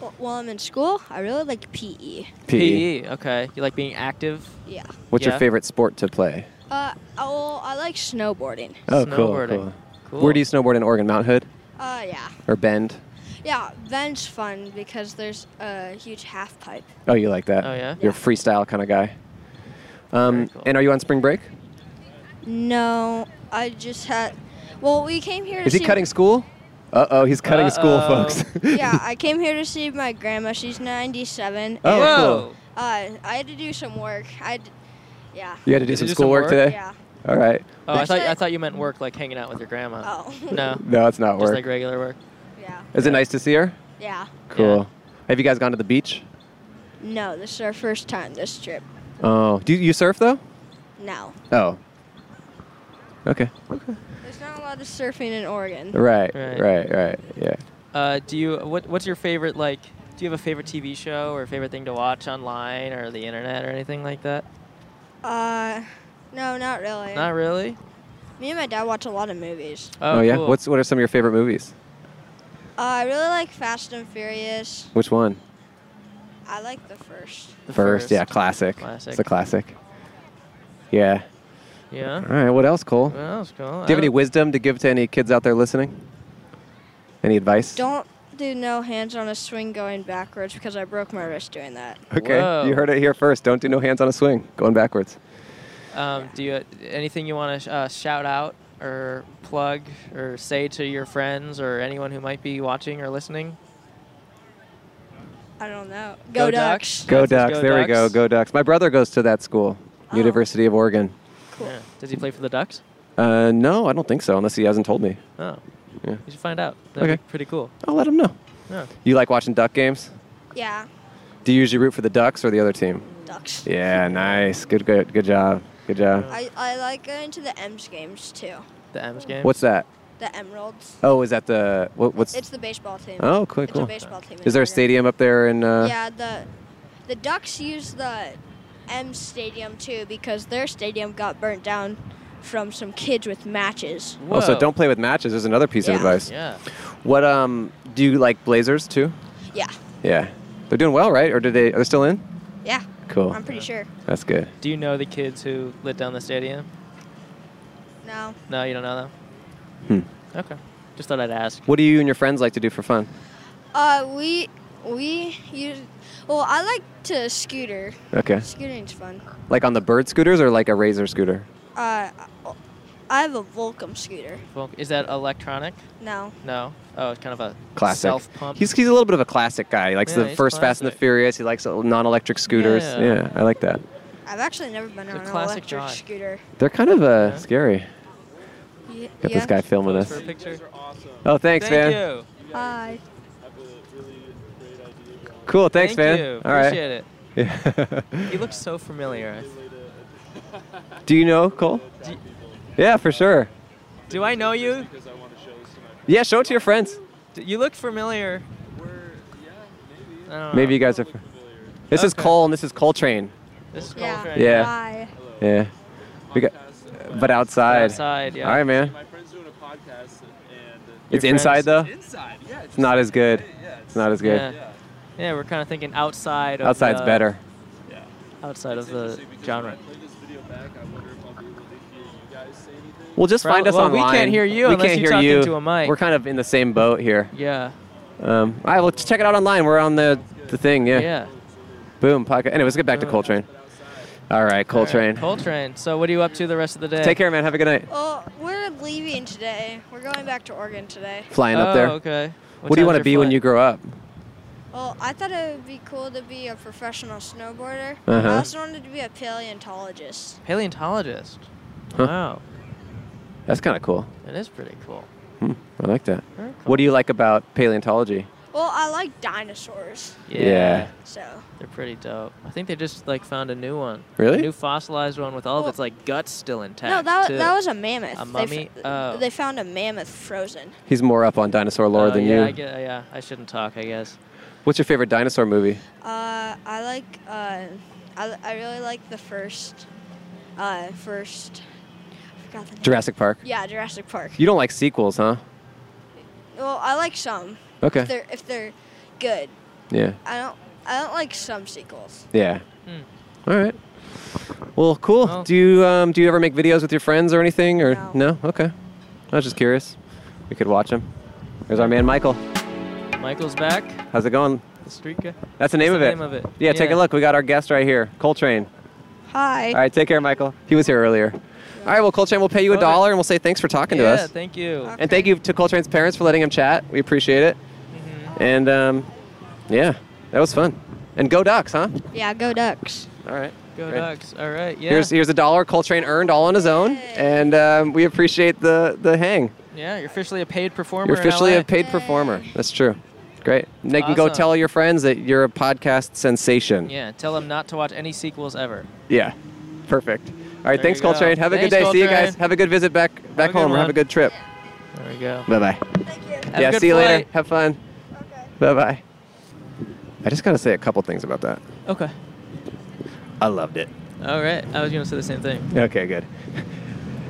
Wh- While I'm in school, I really like E. PE.
PE. E, Okay. You like being active?
Yeah.
E. What's
Yeah.
your favorite sport to play?
Uh, oh, I like snowboarding.
Oh, cool,
Snowboarding.
cool.
Cool.
Where do you snowboard in Oregon? Mount Hood
Uh, yeah.
or Bend?
Yeah, Ben's fun because there's a huge half pipe.
Oh, you like that?
Oh, yeah?
You're a freestyle kind of guy. Um, And are you on spring break?
No, I just had. Well, we came here. to
Is he
see
cutting school? Uh oh, he's cutting school,
Uh-oh.
folks.
yeah, I came here to see my grandma. She's 97.
Oh,
and,
cool.
Uh, I had to do some work. I, had- yeah.
You had to do
Did
some
you do some
schoolwork
work?
today?
Yeah.
All right.
Oh, I thought I thought you meant work, like hanging out with your grandma.
Oh.
No.
No, it's not
Just
work.
like regular work.
Yeah.
Is it nice to see her?
Yeah.
Cool. Have you guys gone to the beach?
No, this is our first time this trip.
Oh, do you, you surf though?
No,
Oh. Okay.
there's not a lot of surfing in Oregon.
Right.
Right.
Right. Right. Yeah.
Uh, do you what What's your favorite like? Do you have a favorite TV show or favorite thing to watch online or the internet or anything like that?
Uh, no, not really.
Not really.
Me and my dad watch a lot of movies.
Oh,
yeah.
cool.
What's what are some of your favorite movies?
Uh, I really like Fast and Furious.
Which one?
I like the first.
First. Yeah. Classic.
Classic.
It's a classic. Yeah.
Yeah.
All right. What else, Cole?
What else, Cole?
Do you
I
have any
don't-
wisdom to give to any kids out there listening? Any advice?
Don't do no hands on a swing going backwards because I broke my wrist doing that.
Okay. You heard it here first. Don't do no hands on a swing. Going backwards.
Um, Do you anything you want to uh, shout out or plug or say to your friends or anyone who might be watching or listening?
I don't know.
Go
Go,
Ducks.
Ducks.
Go
That's his
Ducks.
Go
there we go.
Ducks.
Go Ducks. My brother goes to that school,
Oh.
University of Oregon.
Cool. Yeah. Does he play for the Ducks?
Uh, no, I don't think so, unless he hasn't told me.
Oh.
Yeah.
You should find out. That'd
Okay.
be pretty cool.
I'll let him know.
Yeah.
You like watching Duck games?
Yeah.
Do you usually root for the Ducks or the other team?
Ducks.
Yeah, nice. Good, good, good job. Good job.
I, I like going to the Ems games too.
The M's game.
What's that?
The Emeralds.
Oh, is that the what, what's?
It's the baseball team.
Oh, cool,
It's
cool.
a baseball team. in
Is there a
Oregon.
stadium up there in? Uh,
yeah, the the Ducks use the M Stadium too because their stadium got burnt down from some kids with matches.
Oh, so don't play with matches. There's another piece of
Yeah.
advice.
Yeah.
What um do you like Blazers too?
Yeah.
Yeah. They're doing well, right? Or did they? Are they still in?
Yeah.
Cool.
I'm pretty sure.
That's good.
Do you know the kids who lit down the stadium?
No.
No, you don't know them.
Hmm.
Okay. Just thought I'd ask.
What do you and your friends like to do for fun?
Uh, we we use. Well, I like to scooter.
Okay.
Scootering's fun.
Like on the bird scooters or like a razor scooter?
Uh, I have a Volcom scooter.
Well, is that electronic?
No.
No. Oh, it's kind of a
Classic.
self pump.
He's, he's a little bit of a classic guy. He likes
Yeah,
the
he's
first Fast and the Furious. He likes non electric scooters.
Yeah.
Yeah. I like that.
I've actually never been on an
classic
electric
guy.
scooter.
They're kind of uh, scary.
Ye-
Got
yeah.
this guy filming us.
for a picture.
Oh, thanks,
Thank
man.
you.
Hi.
Cool. Thanks,
Thank
man.
you.
All right.
Appreciate it.
Yeah.
He looks so familiar.
do you know Cole?
Do-
Yeah, for sure.
Do I know you?
Yeah, show it to your friends.
D- You look familiar. We're, yeah, maybe.
Maybe you guys are. fr- This is Cole and this is Coltrane.
This is
Yeah.
Coltrane.
Yeah. Yeah. We got, but outside.
Outside, yeah.
All right, man.
My friend's doing a podcast, and
It's inside though.
Inside, yeah.
It's not as good. It's not as good.
Yeah. Yeah, we're kind of thinking outside. Of
Outside's
the-
better.
Outside of the genre.
Well, just find
Prob-
us
well, we
online.
can't hear you
We
unless
can't
you
hear
talk
you.
into a mic.
We're kind of in the same boat here.
Yeah.
Um, all right, well, check it out online. We're on the the thing. Yeah.
Yeah.
Boom. Podcast. Anyway, let's get back to Coltrane. All right, Coltrane.
Coltrane. So, what are you up to the rest of the day?
Take care, man. Have a good night.
Well, we're leaving today. We're going back to Oregon today.
Flying up
Oh,
there.
okay.
What,
What
do you
time's
want
your
to be when
flight?
you grow up?
Well, I thought it would be cool to be a professional snowboarder.
Uh-huh.
I also wanted to be a paleontologist.
Paleontologist.
Huh.
Wow.
That's kind of cool.
That is pretty cool.
Hmm, I like that.
Very
What do you like about paleontology?
Well, I like dinosaurs.
Yeah.
Yeah.
So.
They're pretty dope. I think they just like found a new one.
Really?
A new fossilized one with all of its like guts still intact.
No, that,
too.
that was a mammoth. They
A mummy.
f-
oh.
They found a mammoth frozen.
He's more up on dinosaur lore
Oh,
than
yeah,
you.
I gue- yeah, I shouldn't talk. I guess.
What's your favorite dinosaur movie?
Uh, I like. Uh, I, I really like the first. Uh, first. I forgot the name.
Jurassic Park.
Yeah, Jurassic Park.
You don't like sequels, huh?
Well, I like some.
Okay.
If they're if they're good.
Yeah.
I don't I don't like some sequels.
Yeah. Hmm. All right. Well, cool. do you um, do you ever make videos with your friends or anything or no? Okay. I was just curious. We could watch them. There's our man Michael.
Michael's back.
How's it going?
The street guy.
That's the name
That's
of
the
it.
name of it.
Yeah, take
Yeah.
a look. We got our guest right here, Coltrane.
Hi.
All right, take care, Michael. He was here earlier. All right, well, Coltrane, we'll pay you a dollar and we'll say thanks for talking
yeah.
to us.
Thank you.
And thank you to Coltrane's parents for letting him chat. We appreciate it.
Mm-hmm.
And um, yeah, that was fun. And go Ducks, huh?
Yeah, go Ducks.
All right.
Go
Great.
Ducks. All right. Yeah.
Here's here's a dollar Coltrane earned all on his own, and um, we appreciate the the hang.
yeah. You're officially a paid performer.
You're
in
officially
LA.
a paid performer. That's true. Great. They can go
Awesome.
tell your friends that you're a podcast sensation.
Yeah. Tell him not to watch any sequels ever.
Yeah. Perfect. All right.
There
thanks,
you go.
Coltrane. Have a
Thanks,
good day. See you
Coltrane.
guys. Have a good visit back back
a good
home. or Have
one.
a good trip.
There we go.
Bye bye.
Have a
Yeah.
good
See you
flight.
later. Have fun. Bye bye. I just gotta say a couple things about that.
Okay.
I loved it.
All right. I was gonna say the same thing.
Okay. Good.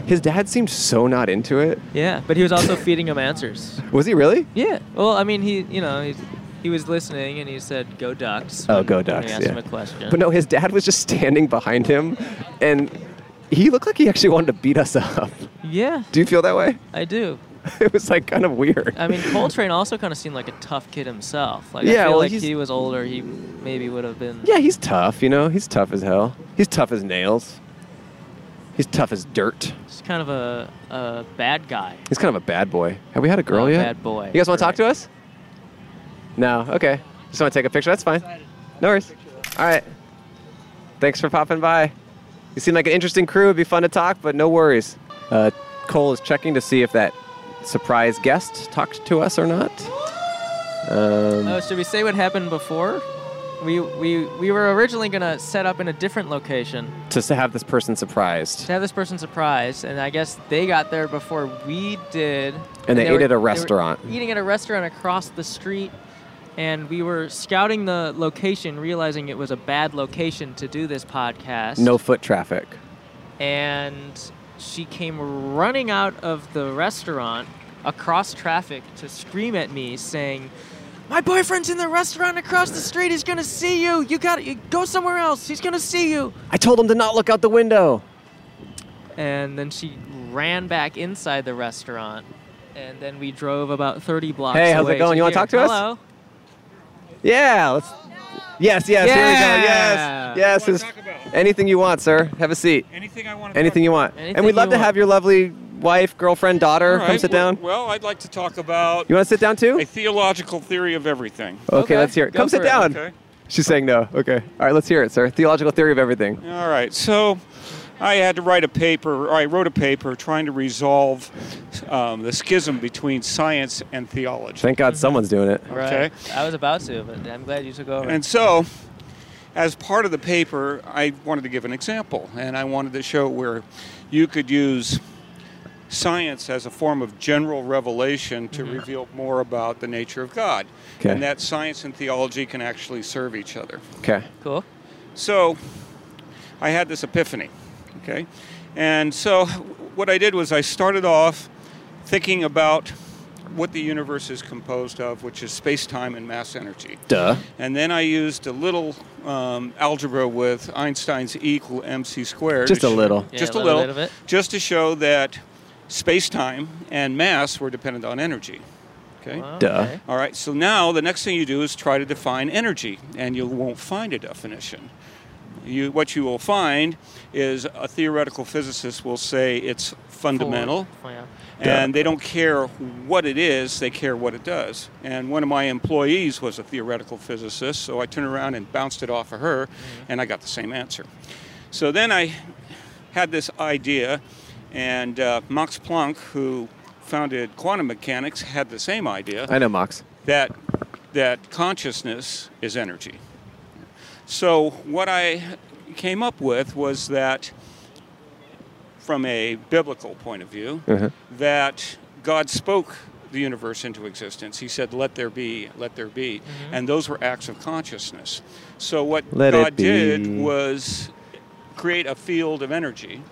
His dad seemed so not into it.
Yeah, but he was also feeding him answers.
Was he really?
Yeah. Well, I mean, he, you know, he, he was listening and he said, "Go Ducks."
Oh,
when-
go
when we
Ducks!
asked
yeah.
him a question.
But no, his dad was just standing behind him, and he looked like he actually wanted to beat us up.
Yeah,
Do you feel that way?
I do.
It was like kind of weird.
I mean, Coltrane also kind of seemed like a tough kid himself. Like, I
Yeah,
feel
well,
like
he's-
he was older, he maybe would have been.
Yeah, he's tough. You know, he's tough as hell. He's tough as nails. He's tough as dirt.
Just kind of a, a bad guy.
He's kind of a bad boy. Have we had a girl
Oh,
yet?
bad boy.
You guys want to talk to us? No. Okay. Just want to take a picture. That's fine. No worries. All right. Thanks for popping by. You seem like an interesting crew. It'd be fun to talk, but no worries. Uh, Cole is checking to see if that surprise guest talked to us or not. Um,
Oh, should we say what happened before? We, we, we were originally going to set up in a different location
Just to have this person surprised.
to have this person surprised, and I guess they got there before we did.
And they ate at a
they
restaurant.
eating at a restaurant across the street, and we were scouting the location, realizing it was a bad location to do this podcast.
No foot traffic.
And she came running out of the restaurant across traffic to scream at me, saying,
My boyfriend's in the restaurant across the street. He's gonna see you. You got to go somewhere else. He's gonna see you.
I told him to not look out the window.
And then she ran back inside the restaurant. And then we drove about 30 blocks
Hey, how's it
away
going? You wanna
here.
talk to us?
Hello.
Yeah. Let's. Yes. Yes. Here we go. Yes. Yes. it's- anything you want, sir. Have a seat.
Anything I want.
Anything you want. and
Anything
we'd love
you
to
want.
have your lovely wife, girlfriend, daughter come sit down.
Well, I'd like to talk about.
You wanna sit down too?
A theological theory of everything.
Okay, let's hear it. Come sit down.
Okay.
She's saying no. Okay. All right, let's hear it, sir. Theological theory of everything.
All right. So I had to write a paper, or I wrote a paper trying to resolve um, the schism between science and theology.
Thank God someone's doing it.
Okay.
Right. I was about to, but I'm glad you took over.
And so, as part of the paper, I wanted to give an example, and I wanted to show where you could use science as a form of general revelation to reveal more about the nature of God,
Mm-hmm. Okay.
and that science and theology can actually serve each other.
Okay.
Cool.
So, I had this epiphany, okay? And so, what I did was I started off thinking about what the universe is composed of, which is space time and mass energy.
Duh.
And then I used a little um, algebra with Einstein's E equal mc squared.
Just
to
a
sh-
little.
Yeah,
just a
a little
little.
bit of it.
Just to show that space time and mass were dependent on energy. Okay.
Wow,
Duh. okay.
All right. So now the next thing you do is try to define energy, and you won't find a definition. You, what you will find is a theoretical physicist will say it's fundamental,
Oh, yeah.
and they don't care what it is, they care what it does. And one of my employees was a theoretical physicist, so I turned around and bounced it off of her,
Mm-hmm.
and I got the same answer. So then I had this idea, and uh, Max Planck, who founded quantum mechanics, had the same idea
I know, Mox.
that that consciousness is energy. So what I came up with was that from a biblical point of view
Mhm.
that God spoke the universe into existence. He said let there be, let there be. And those were acts of consciousness. So what
Let it
God did
be.
was create a field of energy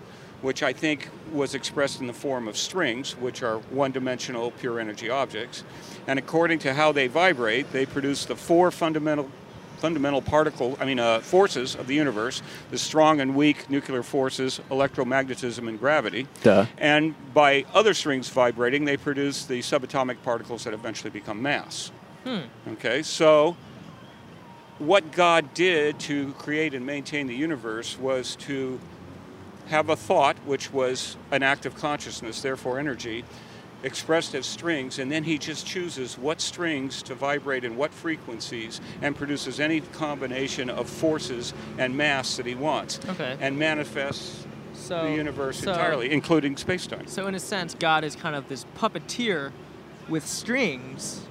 which I think was expressed in the form of strings, which are one dimensional pure energy objects. And according to how they vibrate, they produce the four fundamental fundamental particle i mean uh, forces of the universe the strong and weak nuclear forces electromagnetism and gravity
Duh.
and by other strings vibrating they produce the subatomic particles that eventually become mass
Hmm.
Okay, so what God did to create and maintain the universe was to have a thought, which was an act of consciousness, therefore energy, expressed as strings, and then He just chooses what strings to vibrate in what frequencies and produces any combination of forces and mass that He wants
Okay.
and manifests
So-
the universe
so-
entirely, including space time.
So in a sense, God is kind of this puppeteer with strings,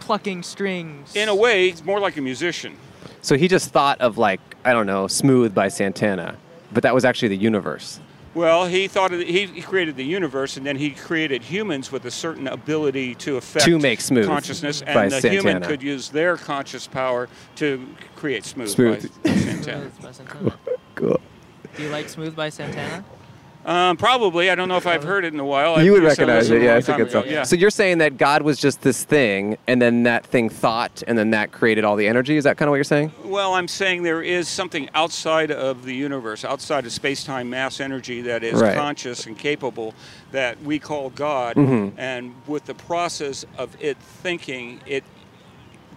plucking strings.
In a way, it's more like a musician.
So he just thought of like, I don't know, Smooth by Santana, but that was actually the universe.
Well, he thought of the, he he created the universe, and then he created humans with a certain ability to affect
To make smooth
consciousness, and
by
the human
Santana.
could use their conscious power to create smooth.
Smooth.
By Santana.
Smooth by Santana.
Cool.
Do you like Smooth by Santana?
Um, probably, I don't know if I've heard it in a while.
you
Oh, I
would
guess I
recognize
listened
it,
a
yeah.
long
It's a
time
good
ago,
song.
Yeah.
So you're saying that God was just this thing, and then that thing thought, and then that created all the energy. Is that kind of what you're saying?
Well, I'm saying there is something outside of the universe, outside of space time mass energy that is
Right.
conscious and capable that we call God.
Mhm.
And with the process of it thinking, it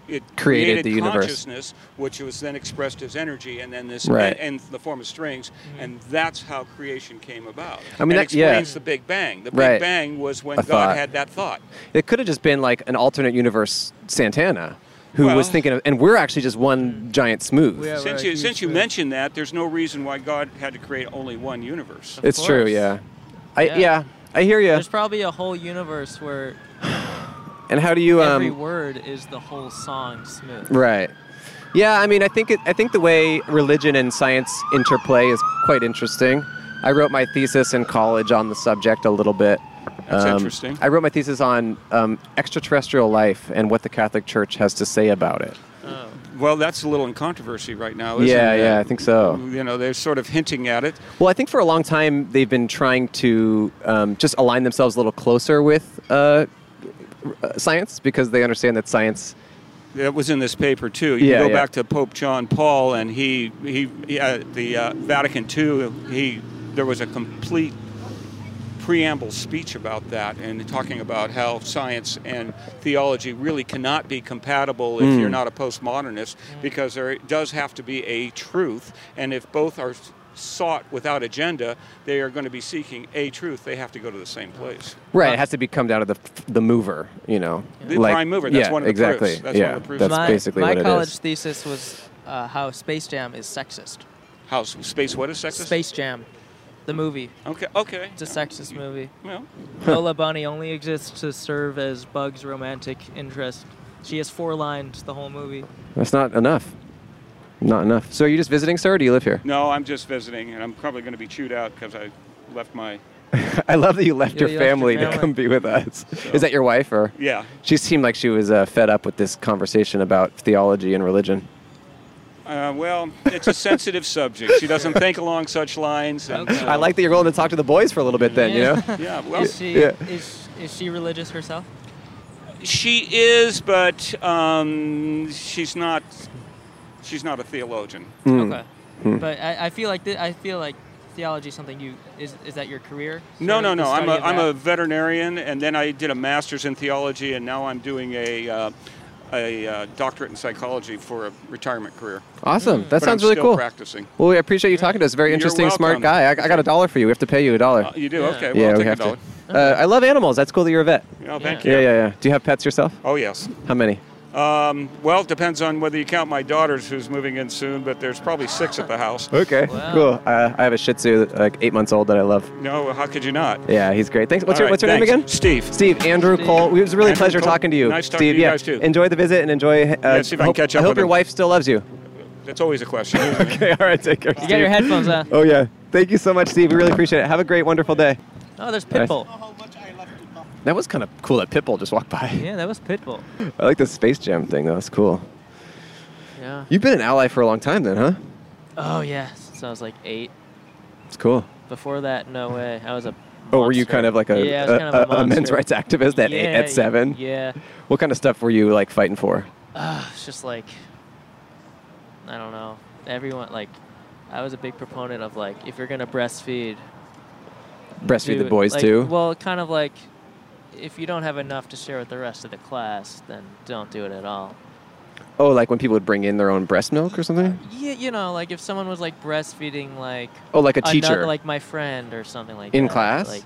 it
Created the universe.
consciousness, which was then expressed as energy, and then this
Right.
and, the form of strings, and that's how creation came about.
I mean,
and
that- yeah.
explains the Big Bang. The Big
Right.
Bang was when
A
God
thought.
had that thought.
It could have just been like an alternate universe Santana, who
Well- Hmm.
was thinking of, and we're actually just one giant smooth.
since you since you mentioned that, there's no reason why God had to create only one universe.
it's true, yeah. I
Yeah.
yeah, I hear you.
There's probably a whole universe where
And how do you um?
every word is the whole song smooth.
Right. Yeah, I mean, I think it, I think the way religion and science interplay is quite interesting. I wrote my thesis in college on the subject a little bit. Um,
That's interesting.
I wrote my thesis on um, extraterrestrial life and what the Catholic Church has to say about it.
Well, that's a little in controversy right now. Oh, Isn't
yeah,
it?
yeah, I think so.
You know, they're sort of hinting at it.
Well, I think for a long time they've been trying to um, just align themselves a little closer with uh, uh, science because they understand that science
It was in this paper too. You
Yeah,
go
yeah.
back to Pope John Paul, and he he, he at the uh, Vatican II. He there was a complete preamble speech about that, and talking about how science and theology really cannot be compatible if
Mm.
Hmm.
you're not a postmodernist, because there does have to be a truth, and if both are sought without agenda, they are going to be seeking a truth. They have to go to the same place.
Right, it has to be come down to the the mover, you know.
The prime mover, that's
yeah,
one of the proofs.
exactly.
That's one
yeah,
of the proofs.
that's
my
basically
my
what it
college
is.
thesis was uh, how Space Jam is sexist.
How space what is sexist?
Space Jam, the movie.
Okay, okay.
It's a sexist movie.
Well.
Lola Bunny only exists to serve as Bug's romantic interest. She has four lines the whole movie.
That's not enough. Not enough. So are you just visiting, sir, or do you live here?
No, I'm just visiting, and I'm probably going to be chewed out because I left my.
I love that you left,
Yeah,
your,
you left your
family
family.
to come be with us. Is that your wife or?
Yeah.
She seemed like she was uh, fed up with this conversation about theology and religion.
Uh, well, it's a sensitive subject. She doesn't think along such lines. And, uh,
I like that you're willing to talk to the boys for a little bit then, you know?
Yeah, well-
is she
Yeah.
is is she religious herself?
She is, but um, she's not. She's not a theologian.
Mm.
Okay.
Hmm.
But I, I feel like th- I feel like theology is something you is is that your career?
No,
Sort
no,
of the
no. I'm a,
study of
I'm
that?
a veterinarian, and then I did a master's in theology, and now I'm doing a uh, a uh, doctorate in psychology for a retirement career.
Awesome. That
Mm. But
sounds
I'm
really
still
cool.
Practicing.
Well, we appreciate you talking to us. Very
You're
interesting,
welcome.
smart guy. I, I got a dollar for you. We have to pay you a dollar.
Uh, you do? Yeah. Okay, well,
yeah,
I'll
we
take a
have
dollar.
to. Uh, I love animals. That's cool that you're a vet.
Oh, thank
yeah.
you.
Yeah, yeah, yeah. Do you have pets yourself?
Oh, yes.
How many?
Um, well, it depends on whether you count my daughters, who's moving in soon, but there's probably six at the house.
Okay, cool. Uh, I have a Shih Tzu, that, like eight months old, that I love.
No, how could you not?
Yeah, he's great. Thanks. What's
All
your
right,
What's your
thanks.
name again?
Steve.
Steve. Andrew Cole. It was really a
Andrew
pleasure
Cole.
talking to you.
Nice talking
Steve,
to you
yeah.
guys, too.
Enjoy the visit and enjoy. Uh,
Yeah, see if I can
hope-
catch up
I hope
with
your
him.
wife still loves you.
That's always a question. isn't it?
okay, all right, take care.
You got your headphones on.
Oh yeah. Thank you so much, Steve. We really appreciate it. Have a great, wonderful day.
Oh, there's
Nice.
Pitbull.
That was kind of cool that Pitbull just walked by.
Yeah, that was Pitbull.
I like the Space Jam thing. though. That's cool.
Yeah.
You've been an ally for a long time, then, huh?
Oh yeah, since I was like eight.
It's cool.
Before that, no way. I was a.
Oh, were you kind of like a,
Yeah, I was
a,
kind of a
a- a men's
monster.
rights activist at eight,
Yeah,
at seven?
yeah.
What kind of stuff were you like fighting for?
Uh, it's just like. I don't know. Everyone like, I was a big proponent of like, if you're gonna breastfeed.
Breastfeed
do
the
it-
boys,
like,
too?
Well, kind of like, if you don't have enough to share with the rest of the class, then don't do it at all.
Oh, like when people would bring in their own breast milk or something?
Yeah, you know, like if someone was like breastfeeding, like
Oh, like a
ano-
teacher.
like my friend or something like
In
that,
class?
like,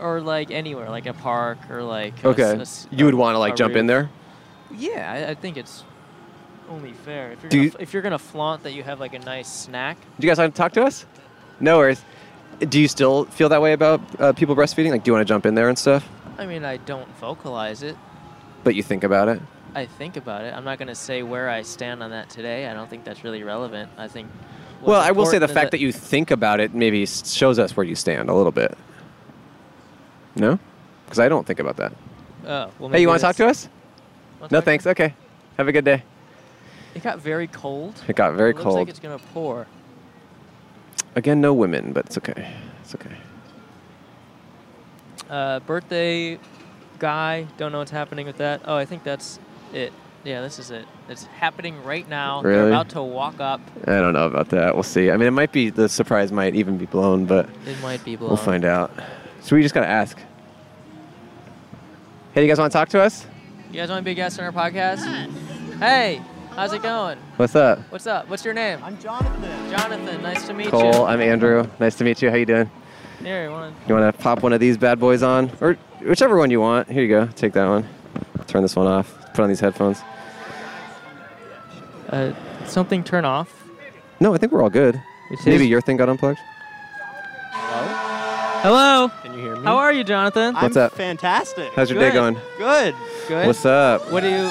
or like anywhere, like a park or like a s- a
Okay.
s-
You would want to
a
like jump in
roof.
there?
Yeah, I, I think it's only fair if you're
Do
gonna,
you-
f- if you're gonna flaunt that you have like a nice snack.
Do you guys want to talk to us? No worries. Do you still feel that way about uh, people breastfeeding? Like, do you want to jump in there and stuff?
I mean, I don't vocalize it.
But you think about it?
I think about it. I'm not gonna say where I stand on that today. I don't think that's really relevant. I think. what's
well, I will say the
important is
fact that you think about it maybe s- shows us where you stand a little bit. No? Because I don't think about that.
Oh, well,
hey,
maybe
you want to talk to
that's-
us?
Wanna
No,
talk to
thanks. Okay. Have a good day.
It got very cold.
It got very
It looks
cold.
like it's gonna pour.
Again, no women, but it's okay. It's okay.
Uh, birthday guy. Don't know what's happening with that. Oh, I think that's it. Yeah, this is it. It's happening right now. They're
Really?
about to walk up.
I don't know about that. We'll see. I mean, it might be the surprise might even be blown, but
It might be
We'll
blown.
find out. So we just gotta ask. Hey, you guys want to talk to us?
You guys want to be guests on our podcast? Hey, how's it going?
What's up?
What's up? What's your name? I'm Jonathan. Jonathan, nice to meet you.
Cole, I'm Andrew. Nice to meet you. How you doing?
Here, you want
You want to pop one of these bad boys on, or whichever one you want. Here you go. Take that one. Turn this one off. Put on these headphones.
Uh, something turn off?
No, I think we're all good.
It
Maybe
is-
your thing got unplugged.
Hello. Can you hear me? How are you, Jonathan?
What's up?
Fantastic.
How's your day
Good.
going?
Good.
Good.
What's up?
What do you?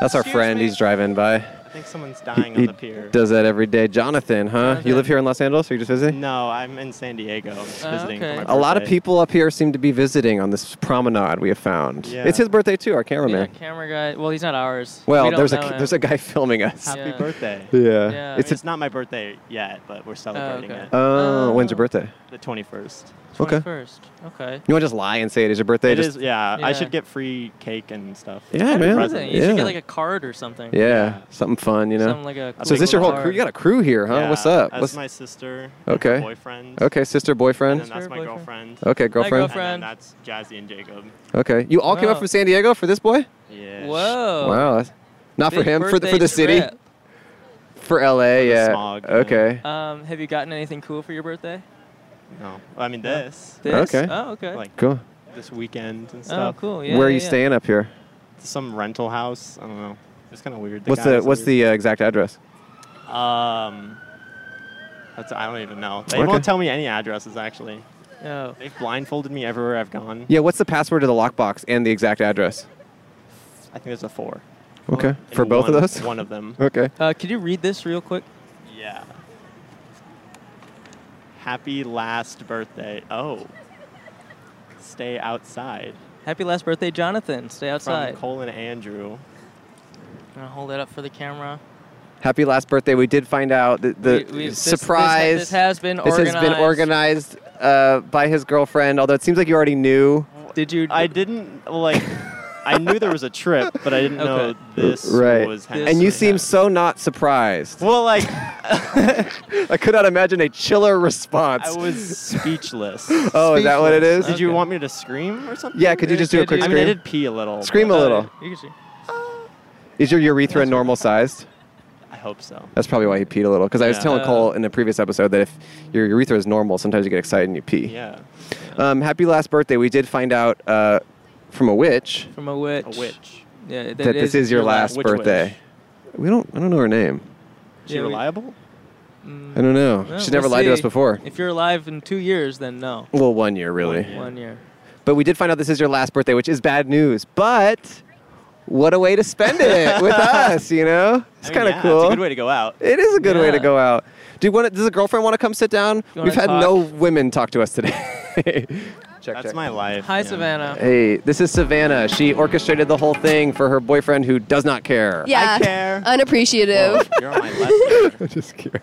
That's our friend. He's driving by.
think someone's dying on the pier.
does that every day. Jonathan, huh? You live here in Los Angeles or you just visiting?
No, I'm in San Diego. I'm just
Oh,
visiting. for
okay.
my
A lot of
birthday.
people up here seem to be visiting on this promenade we have found.
Yeah.
It's his birthday too, our cameraman.
Yeah, camera guy. Well, he's not ours.
Well,
We don't
there's a
know him.
there's a guy filming us.
Happy birthday.
Yeah.
I mean,
uh, It's
It's,
a-
not my birthday yet, but we're celebrating
okay.
it.
Oh, when's your birthday?
The 21st.
Okay.
21st. Okay.
You want to just lie and say it is your birthday?
It
just,
is- yeah, I
Yeah.
should get free cake and stuff.
Yeah,
And
man.
presents.
You should
Yeah.
get like a card or something.
Yeah, something fun, you know.
Something like a
so is this
cool
your whole
car.
crew? You got a crew here, huh?
Yeah,
What's up?
that's
What's
my sister and her
Okay.
boyfriend.
Okay, sister, boyfriend.
And then that's my girlfriend.
Okay, girlfriend.
And then that's Jazzy and Jacob.
Okay, you all came up
Wow.
from San Diego for this boy?
Yeah.
Whoa.
Wow, that's- not for
Big
him, for the, for
birthday
the city,
trip.
for LA. yeah.
smog, yeah.
okay.
Um, have you gotten anything cool for your birthday?
No, I mean
No.
this.
This?
Okay.
Oh, okay.
Like
Cool.
This weekend and
Oh,
stuff.
cool,
Where are you staying up here?
Some rental house. I don't know. It's kind of weird.
what's
guy
the
was
What's
weird.
the uh, exact address?
Um, that's I don't even know. They
Okay.
won't tell me any addresses actually.
No.
They've blindfolded me everywhere I've gone.
Yeah, what's the password to the lockbox and the exact address?
I think there's a four.
Okay,
And
for both of
one-
those.
One of them.
okay.
Uh, could you read this real quick?
Yeah. Happy last birthday. Oh. Stay outside.
Happy last birthday, Jonathan. Stay outside.
From Cole and Andrew.
I'm gonna hold that up for the camera.
Happy last birthday. We did find out that the
We- we- this-
surprise.
this ha- this has been
This has been organized uh, by his girlfriend. Although it seems like you already knew.
Did you?
I didn't like. I knew there was a trip, but I didn't know this
right.
was happening.
and you seem so not surprised.
Well, like
I could not imagine a chiller response.
I was speechless.
Oh, is that what it is?
Did you want me to scream or something?
Yeah, could you just do a quick
I
scream?
mean, I did pee a little.
Scream a
but-
little.
You can see.
Is your urethra normal sized?
I hope so.
That's probably why he peed a little. Because I was
Yeah. Uh,
telling Cole in a previous episode that if your urethra is normal, sometimes you get excited and you pee.
Yeah.
Um, happy last birthday. We did find out uh, from a witch
From a witch.
A witch.
Yeah.
that, this is your last
Which witch?
birthday. We don't. I don't know her name.
Is she
Yeah, we-
reliable?
I don't know.
Well,
She's never
we'll
lied to us
see.
before.
If you're alive in two years, then no.
Well, one year really.
One year.
But we did find out this is your last birthday, which is bad news. But what a way to spend it with us, you know? It's
I mean,
kind of
yeah,
cool.
It's a good way to go out.
It is a good way to
Yeah.
go out. Do you want does a girlfriend want to come sit down?
You wanna
We've had
talk?
no women talk to us today. check,
That's my life.
Hi, Savannah.
hey, this is Savannah. She orchestrated the whole thing for her boyfriend who does not care.
Yeah. Unappreciative.
You're on my left.
I'm just kidding.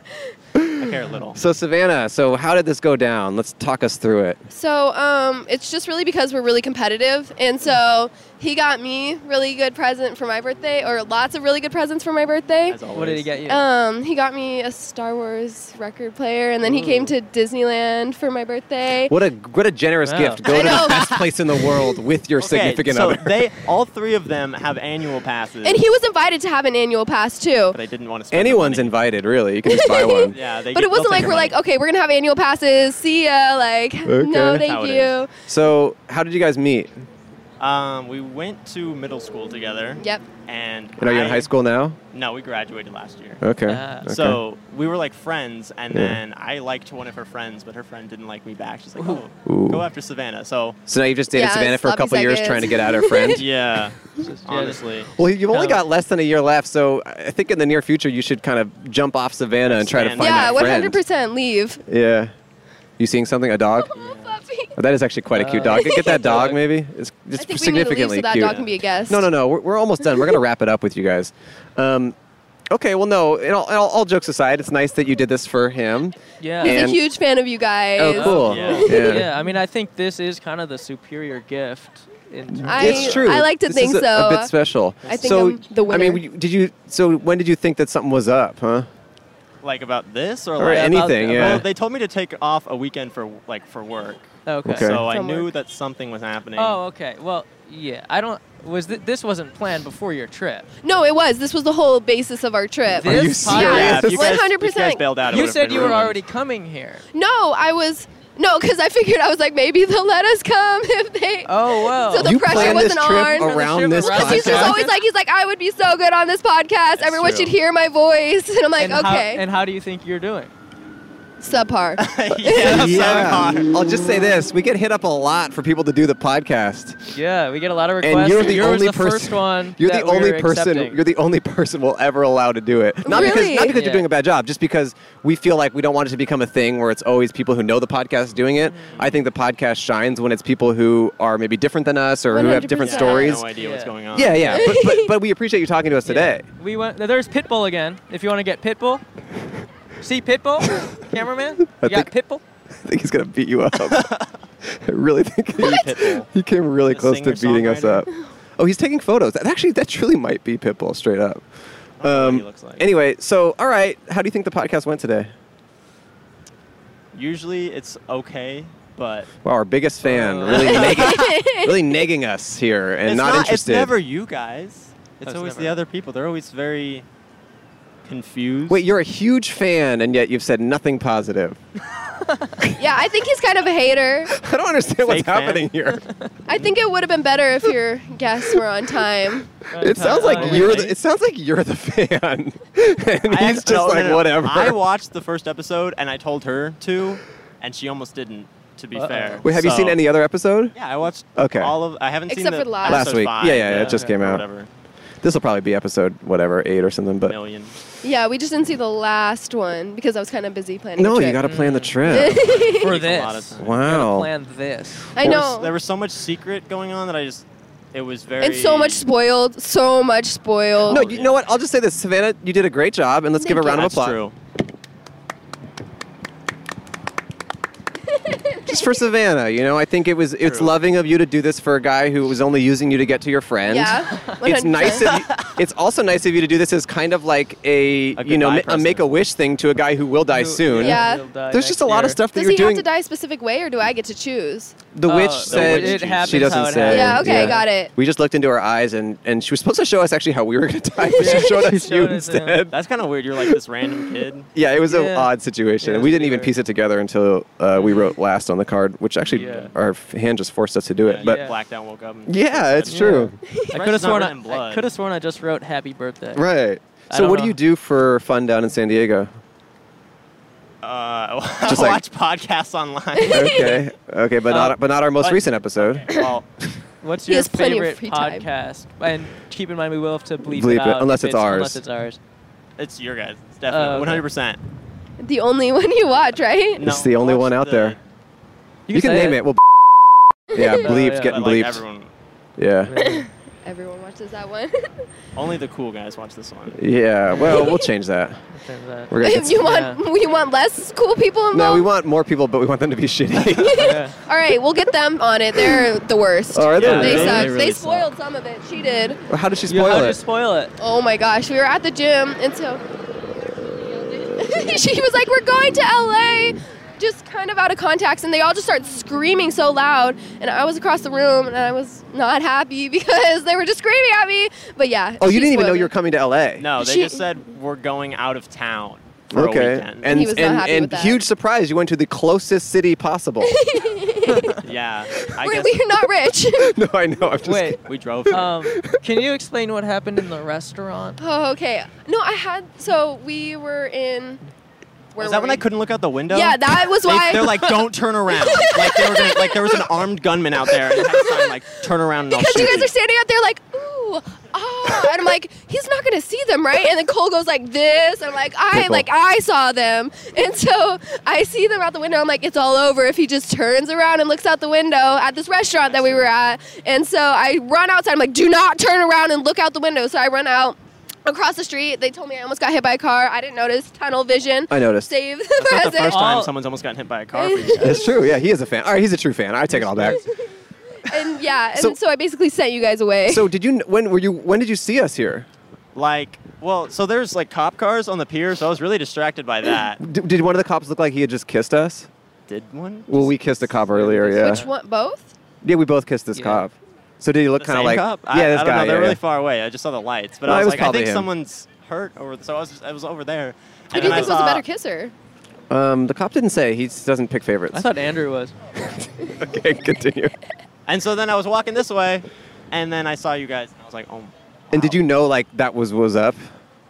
I care a little.
So Savannah, so how did this go down? Let's talk us through it.
So um, it's just really because we're really competitive, and so he got me really good present for my birthday, or lots of really good presents for my birthday.
What did he get you?
Um, he got me a Star Wars record player, and then he came to Disneyland for my birthday.
What a what a generous gift. Go
I
to the
know.
best place in the world with your significant
so
other.
they all three of them have annual passes.
And he was invited to have an annual pass too.
but they didn't want to spend
Anyone's invited, really. You can just buy one.
yeah, they
But
get-
it wasn't
they'll
like
take
we're
our
like, okay, we're gonna have annual passes. See ya. Like, no, thank you.
So, how did you guys meet?
Um, we went to middle school together.
Yep.
And
And are you in
I-
high school now?
No, we graduated last year.
Okay, Ah.
Uh,
okay.
So we were like friends, and
Yeah.
then I liked one of her friends, but her friend didn't like me back. She's like, oh,
Ooh.
go after Savannah. So.
So now you've just dated
Yeah,
Savannah for a
sloppy
couple years
seconds.
trying to get out her friend?
yeah. uh, Honestly.
Well, you've only got less than a year left, so I think in the near future you should kind of jump off Savannah and try to find
Yeah,
that
one hundred
friend.
percent. Leave.
Yeah. You seeing something? A dog? Oh, that is actually quite a cute
Uh,
dog. Get that dog, maybe. It's, it's
I think we need to leave
significantly
so that
cute.
dog can be a guest.
No, no, no. We're, we're almost done. We're gonna wrap it up with you guys. Um, okay. Well, no. And all, and all, all jokes aside, it's nice that you did this for him.
Yeah.
He's a
And-
huge fan of you guys.
Oh, cool.
yeah. I mean, I think this is kind of the superior gift. In
I-
it's true.
I like to
This
think
is a,
so.
A bit special.
I think
so,
I'm the
I
winner.
mean, you- did you? So when did you think that something was up? Huh?
Like about this or,
Or
like
anything, yeah.
Well, they told me to take off a weekend for like for work.
Okay.
Okay.
So I
From
knew
work.
that something was happening.
Oh, okay. Well, yeah. I don't. Was th- this wasn't planned before your trip?
No, it was. This was the whole basis of our trip.
Are you This serious? podcast-
if you guys- if you guys
100%.
bailed out, it
You
would've
said
been
you were
ruined.
already coming here.
No, I was no, because I figured I was like maybe they'll let us come if they.
Oh wow.
So the
You
pressure
planned this
wasn't
trip
on.
around this
Because he's just
podcast?
always like he's like I would be so good on this podcast. Everyone
true.
should hear my voice, and I'm like
and how,
okay.
and how do you think you're doing?
subpar.
yeah. I'll just say this: we get hit up a lot for people to do the podcast.
Yeah, we get a lot of requests.
and you're the
Yours
only
was the
person.
first one.
You're
that
the
we
only
were
person.
accepting.
You're the only person we'll ever allow to do it. Not because not
Really?
because you're
Yeah.
doing a bad job, just because we feel like we don't want it to become a thing where it's always people who know the podcast doing it.
Mm-hmm.
I think the podcast shines when it's people who are maybe different than us or who have different
100%.
stories.
No idea what's going on.
Yeah, yeah. but, but, but we appreciate you talking to us today.
We went. There's Pitbull again. If you want to get Pitbull, see Pitbull, cameraman. You
I
got Pitbull.
I think he's gonna beat you up. I really think he, he came really close to beating us up. Oh, he's taking photos. That actually, that truly might be Pitbull straight up. Um, Anyway, so all right, how do you think the podcast went today?
Usually it's okay, but
Wow, our biggest fan really, negging, really negging us here and
Uh. it's
not,
It's
interested.
never you guys. It's
it's
always
never-
the other people. They're always very confused.
Wait, you're a huge fan, and yet you've said nothing positive.
yeah, I think he's kind of a hater.
I don't understand what's
Fake fan.
happening here.
I think it would have been better if your guests were on time.
it sounds like
Oh,
you're.
really?
The, it sounds like you're the fan, and
I
he's
act-
just
no, no,
like
no, no.
whatever.
I watched the first episode and I told her to, and she almost didn't. To be
Uh-oh.
fair.
Wait, have you seen
So-
any other episode?
Yeah, I watched.
Okay.
All of I haven't seen
Except
the
for last-
last
episode
week.
five,
yeah, yeah, it just came
or
out.
Whatever.
This will probably be episode whatever eight or something. But
Million.
Yeah, we just didn't see the last one because I was kind of busy planning.
no,
the
you
trip.
got to plan the trip.
For
Takes a lot of
this.
time.
wow.
Plan this.
I
There was-
know.
there was so much secret going on that I just. It was very.
And so much spoiled, so much spoiled.
No, you know what? I'll just say this, Savannah. You did a great job, and let's give a
Thank you.
round
That's
of applause.
true.
Just for Savannah, you know, I think it was it's
True.
loving of you to do this for a guy who was only using you to get to your friend.
yeah,
It's
100%.
nice of you, it's also nice of you to do this as kind of like a, you know ma-
goodbye
a
present.
make a wish thing to a guy who will die soon.
Yeah. He'll
die
There's just a lot of
next
stuff that
Does
you're
he
doing.
have to die a specific way, or do I get to choose?
The
Oh,
witch
the
said
witch It happens
she
how
doesn't
it
say.
happens.
Yeah, okay, got it.
We just looked into her eyes, and, and she was supposed to show us actually how we were going to die, but she showed us you instead.
That's kind of weird. You're like this random kid.
Yeah, it was an
Yeah.
odd situation. and we didn't even piece it together until uh, we wrote last on the card, which actually
Yeah.
our f- hand just forced us to do it.
Yeah,
but
you blacked out, woke up. and-
yeah, it's true.
I
Fresh
could have
is not
sworn.
written in
I, I
blood.
could have sworn I just wrote "Happy Birthday."
Right.
I
So
don't
what do
know.
you do for fun down in San Diego?
Uh,
Just
I
like-
watch podcasts online.
okay, okay, but
Uh,
not but not our most
but-
recent episode.
Well,
What's
He
your
has plenty of
favorite
free time.
podcast? And keep in mind, we will have to bleep,
Bleep it,
it out
unless
if
it's ours.
Unless it's ours.
it's your guys. It's definitely
okay.
100. percent
The only one you watch, right?
No,
it's the only one out there. You, can
say
name
it.
it. Well, yeah,
No,
bleeped,
yeah.
getting
But, like,
bleeped.
everyone-
yeah,
Everyone watches that one.
Only the cool guys watch this one.
yeah. Well, we'll change that. We're gonna get
you
some-
want you want less cool people involved.
No, we want more people, but we want them to be shitty.
All right, we'll get them on it. They're the worst.
Oh, are they
They
really?
suck.
They
They,
really
spoiled some of it. She did.
How did she
Yeah,
spoil
how
it?
did you spoil it?
Oh my gosh, we were at the gym, and so she was like, "We're going to LA." Just kind of out of context, and they all just start screaming so loud. And I was across the room, and I was not happy because they were just screaming at me. But yeah.
oh,
she
you didn't even know
spoiled
you were
it.
coming to LA.
No, they
She-
just said we're going out of town for a
okay,
weekend.
and
He was not
and,
happy
and
with that.
huge surprise, you went to the closest city possible.
yeah, I
We're,
guess
we're not rich.
no, I know. I'm just
Wait.
we drove. here.
Um, can you explain what happened in the restaurant?
oh, okay. No, I had. So we were in. Where
Was that
were
when
we?
I couldn't look out the window?
Yeah, that was why-
They, are like, don't turn around. like, they were gonna, like there was an armed gunman out there, and it had a sign like, turn around and I'll
Because you
shoot
guys are standing out there like, ooh, ah, and I'm like, he's not gonna see them, right? And then Cole goes like this, and I'm like, I
Purple.
like I saw them, and so I see them out the window. I'm like, it's all over if he just turns around and looks out the window at this restaurant that we were at. And so I run outside. I'm like, do not turn around and look out the window. So I run out. Across the street, they told me I almost got hit by a car. I didn't notice. Tunnel vision.
I noticed.
Save the
That's not
president.
the first time
All-
someone's almost gotten hit by a car. For you guys.
That's true. Yeah, he is a fan. All right, he's a true fan. I take it all back.
And yeah, and
So-
so, I basically sent you guys away.
So did you? When were you? When did you see us here?
Like, well, so there's like cop cars on the pier, so I was really distracted by that.
Did, did one of the cops look like he had just kissed us?
Did one?
Well, we kissed a cop earlier. Yeah.
Which one? Both?
Yeah, we both kissed this cop. So did he look kind of
Same
like?
cop?
Yeah,
I,
this
I don't
guy.
know. They're
yeah,
really
yeah.
far away. I just saw the lights, but
No,
I
it
was,
was
like, I
probably
think
him.
someone's hurt over. So I was just, I was over there.
Who do you think was a better kisser?
Um, the cop didn't say. He s- doesn't pick favorites.
I thought Andrew was.
okay, continue.
And so then I was walking this way, and then I saw you guys, and I was like, oh.
And did you know like that was was up?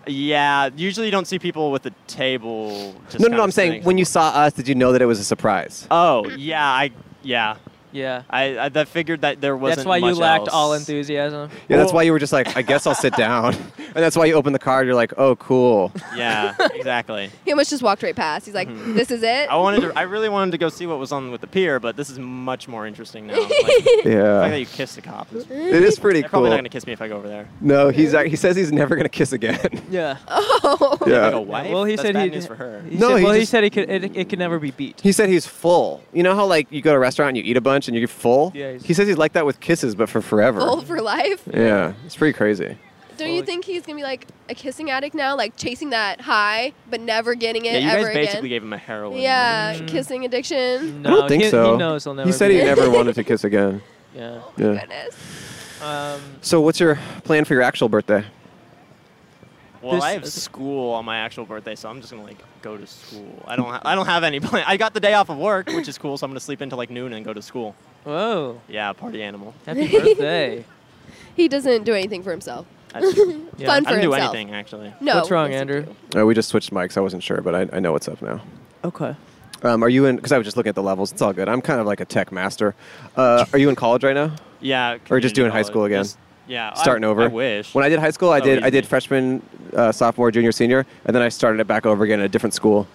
Yeah, usually you don't see people with a table. Just
no, no,
kind
no.
of
I'm saying
sitting.
when you saw us, did you know that it was a surprise?
Oh yeah, I yeah.
Yeah.
I, I that figured that there wasn't.
That's why you
much
lacked
else.
all enthusiasm.
Yeah, that's why you were just like, I guess I'll sit down, and that's why you opened the card. You're like, oh, cool.
Yeah, exactly.
He almost just walked right past. He's like, "This is it."
Mm-hmm. I wanted to. I really wanted to go see what was on with the pier, but this is much more interesting now. Like, The
Yeah.
fact that you kissed a cop. Is,
It is pretty
They're Probably
cool.
not gonna kiss me if I go over there.
No, he's ac- he says he's never gonna kiss again.
Yeah.
Oh.
Yeah.
Like a wife?
Well, he
That's
said
bad
he.
news for her.
he
No,
said-
he
well, he
just-
said he could. It, it could never be beat.
He said he's full. You know how like you go to a restaurant and you eat a bunch and you're full.
Yeah, he's-
he says he's like that with kisses, but for forever.
Goal for life.
Yeah, it's pretty crazy.
Don't you think he's gonna be like a kissing addict now, like chasing that high but never getting it
yeah, you
ever
guys basically
again?
gave him a heroin. Mm.
yeah, kissing addiction.
I don't think
he- he
so.
knows he'll
He
never
said
be-
he never wanted to kiss again.
Yeah.
Yeah.
Um,
So what's your plan for your actual birthday?
Well,
This-
I have school on my actual birthday, so I'm just gonna like go to school. I don't. Ha- I don't have any plan. I got the day off of work, which is cool. So I'm gonna sleep until like noon and go to school.
Whoa.
Yeah, party animal.
Happy birthday.
He doesn't do anything for himself.
That's true.
Yeah. Fun
I
for
don't do
himself.
anything actually.
No.
What's wrong,
yes, you
Andrew?
Oh, we just switched mics. I wasn't sure, but I, I know what's up now.
Okay.
Um, are you in? Because I was just looking at the levels. It's all good. I'm kind of like a tech master. Uh, are you in college right now?
Yeah.
Or just
community
doing high
college.
school again?
Just- yeah. I-
Starting over.
I wish.
When I did high school, I
Oh,
did I
easy.
did freshman, uh, sophomore, junior, senior, and then I started it back over again at a different school.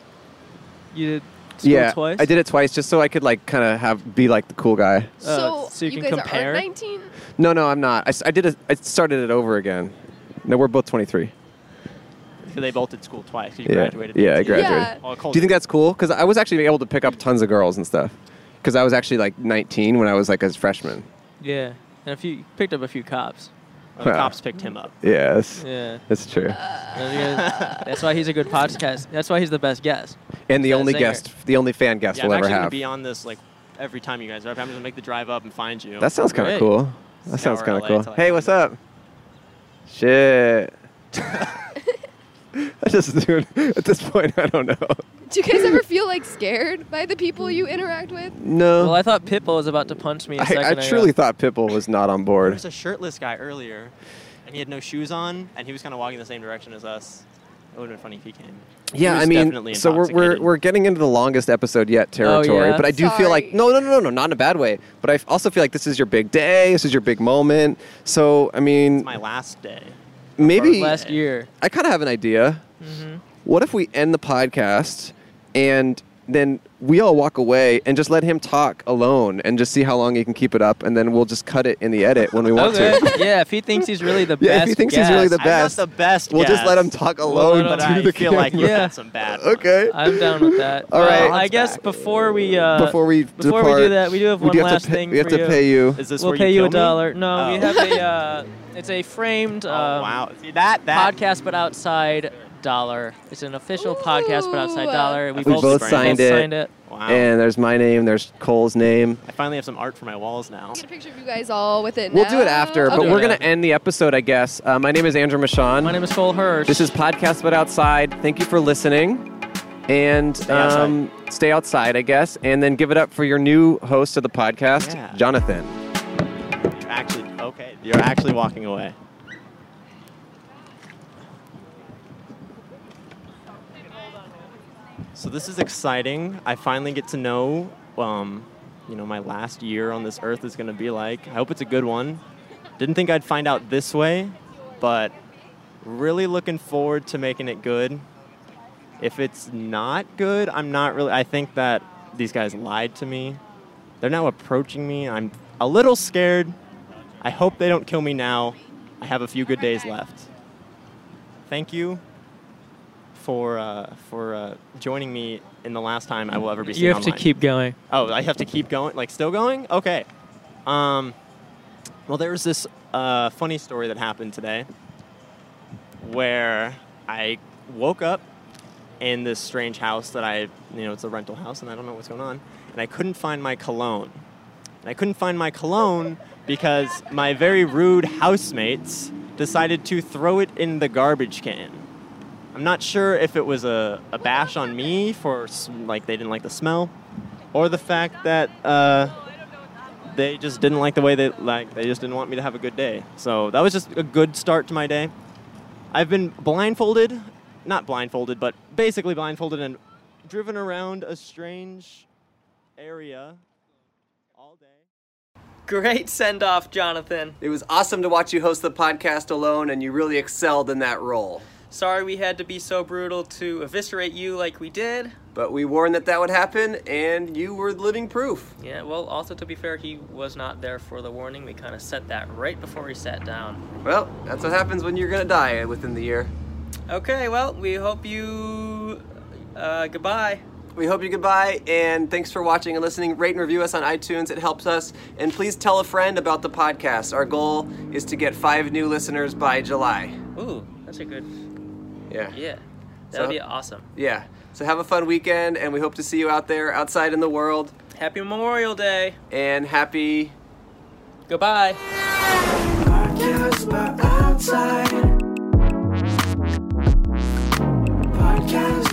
You did school
yeah,
twice. Uh,
I did it twice just so I could like kind of have be like the cool guy.
Oh,
So,
so you can
guys
compare?
are 19.
No, no, I'm not. I, s- I did it. I started it over again. No, we're both 23.
So they both did school twice. 'cause You
yeah,
graduated.
yeah, I
at 18.
graduated.
All
Do you think that's cool? Because I was actually able to pick up tons of girls and stuff. Because I was actually like 19 when I was like a freshman.
Yeah, and a few picked up a few cops.
Oh, the Huh. cops
picked him up.
Yeah, that's,
Yeah. Uh,
that's true.
That's because- that's why he's a good podcast. That's why he's the best guest.
and the
Yeah,
only
singer.
guest, the only fan guest
yeah,
we'll
I'm
ever
actually gonna
have.
be on this like every time you guys are up. I'm just gonna make the drive up and find you.
That sounds kind of
Great.
cool. That sounds
Scour
kind of
LA
cool.
till I
Hey, what's up? Shit. I just dude, at this point I don't know.
Do you guys ever feel like scared by the people you interact with?
No.
Well, I thought Pitbull was about to punch me. a second
I, I
ago.
truly thought Pitbull was not on
There
board.
was a shirtless guy earlier, and he had no shoes on, and he was kind of walking the same direction as us. It would have been funny if he came. He
Yeah,
was
I mean,
definitely
so we're, we're
intoxicated.
we're getting into the longest episode yet
Oh,
territory,
yeah?
but I do feel like no, no, no, no, no, not in a bad way. But I f- also feel like this is your big day. This is your big moment. So I mean,
my last day.
maybe
last year.
I kind of have an idea.
Mm-hmm.
What if we end the podcast and then we all walk away and just let him talk alone and just see how long he can keep it up, and then we'll just cut it in the edit when we want
Okay.
to.
yeah, if he thinks he's really the
Yeah,
best.
if he thinks he's really the
guest,
best,
the best
we'll just let
guest.
him talk
Well,
alone
but
to
I
the
feel
camera.
like you had some bad.
Okay.
I'm down with that.
All
Well,
right.
I guess before we uh,
Before we
before we do
depart,
that, we do have
we
one
do have to
last
pay-
thing.
we have
for
to pay you. Is
this
we'll
where you
pay you
kill
a
me?
dollar. No, we
Oh.
have a. Uh, it's a framed. Um,
wow. See, that- that-
podcast, but outside dollar. It's an official podcast, but outside dollar. We,
We both signed it.
signed it.
Wow.
And there's my name. There's Cole's name.
I finally have some art for my walls now.
Get a picture of you guys all with it.
We'll do it
now.
after,
I'll
but
do
we're
it
going to
after.
end the episode, I guess. Uh, my name is Andrew Michon. My
name is Cole Hirsch.
This is Podcast But Outside. Thank you for listening. And stay,
outside.
um, stay outside, I guess. And then give it up for your new host of the podcast,
Yeah.
Jonathan.
You're actually, okay. You're actually walking away. So this is exciting. I finally get to know, um, you know, my last year on this earth is going to be like. I hope it's a good one. Didn't think I'd find out this way, but really looking forward to making it good. If it's not good, I'm not really. I think that these guys lied to me. They're now approaching me. I'm a little scared. I hope they don't kill me now. I have a few good days left. Thank you for uh, for uh, joining me in the last time I will ever be seen
You have to
online.
keep going.
Oh, I have to keep going? Like, still going? Okay. Um, well, there was this uh, funny story that happened today where I woke up in this strange house that I, you know, it's a rental house and I don't know what's going on. And I couldn't find my cologne. And I couldn't find my cologne because my very rude housemates decided to throw it in the garbage can. I'm not sure if it was a, a bash on me for s- like they didn't like the smell, or the fact that uh, they just didn't like the way they like they just didn't want me to have a good day. So that was just a good start to my day. I've been blindfolded, not blindfolded, but basically blindfolded and driven around a strange area all day.
Great send off, Jonathan. It was awesome to watch you host the podcast alone, and you really excelled in that role.
Sorry we had to be so brutal to eviscerate you like we did.
But we warned that that would happen, and you were living proof.
Yeah, well, also to be fair, he was not there for the warning. We kind of set that right before he sat down.
Well, that's what happens when you're gonna die within the year.
Okay, well, we hope you. Uh, goodbye.
We hope you goodbye, and thanks for watching and listening. Rate and review us on iTunes, it helps us. And please tell a friend about the podcast. Our goal is to get five new listeners by July.
Ooh, that's a good.
Yeah.
Yeah. That
So-
would be awesome.
Yeah. So have a fun weekend, and we hope to see you out there outside in the world.
Happy Memorial Day.
And happy.
Goodbye.
Podcast but outside. Podcast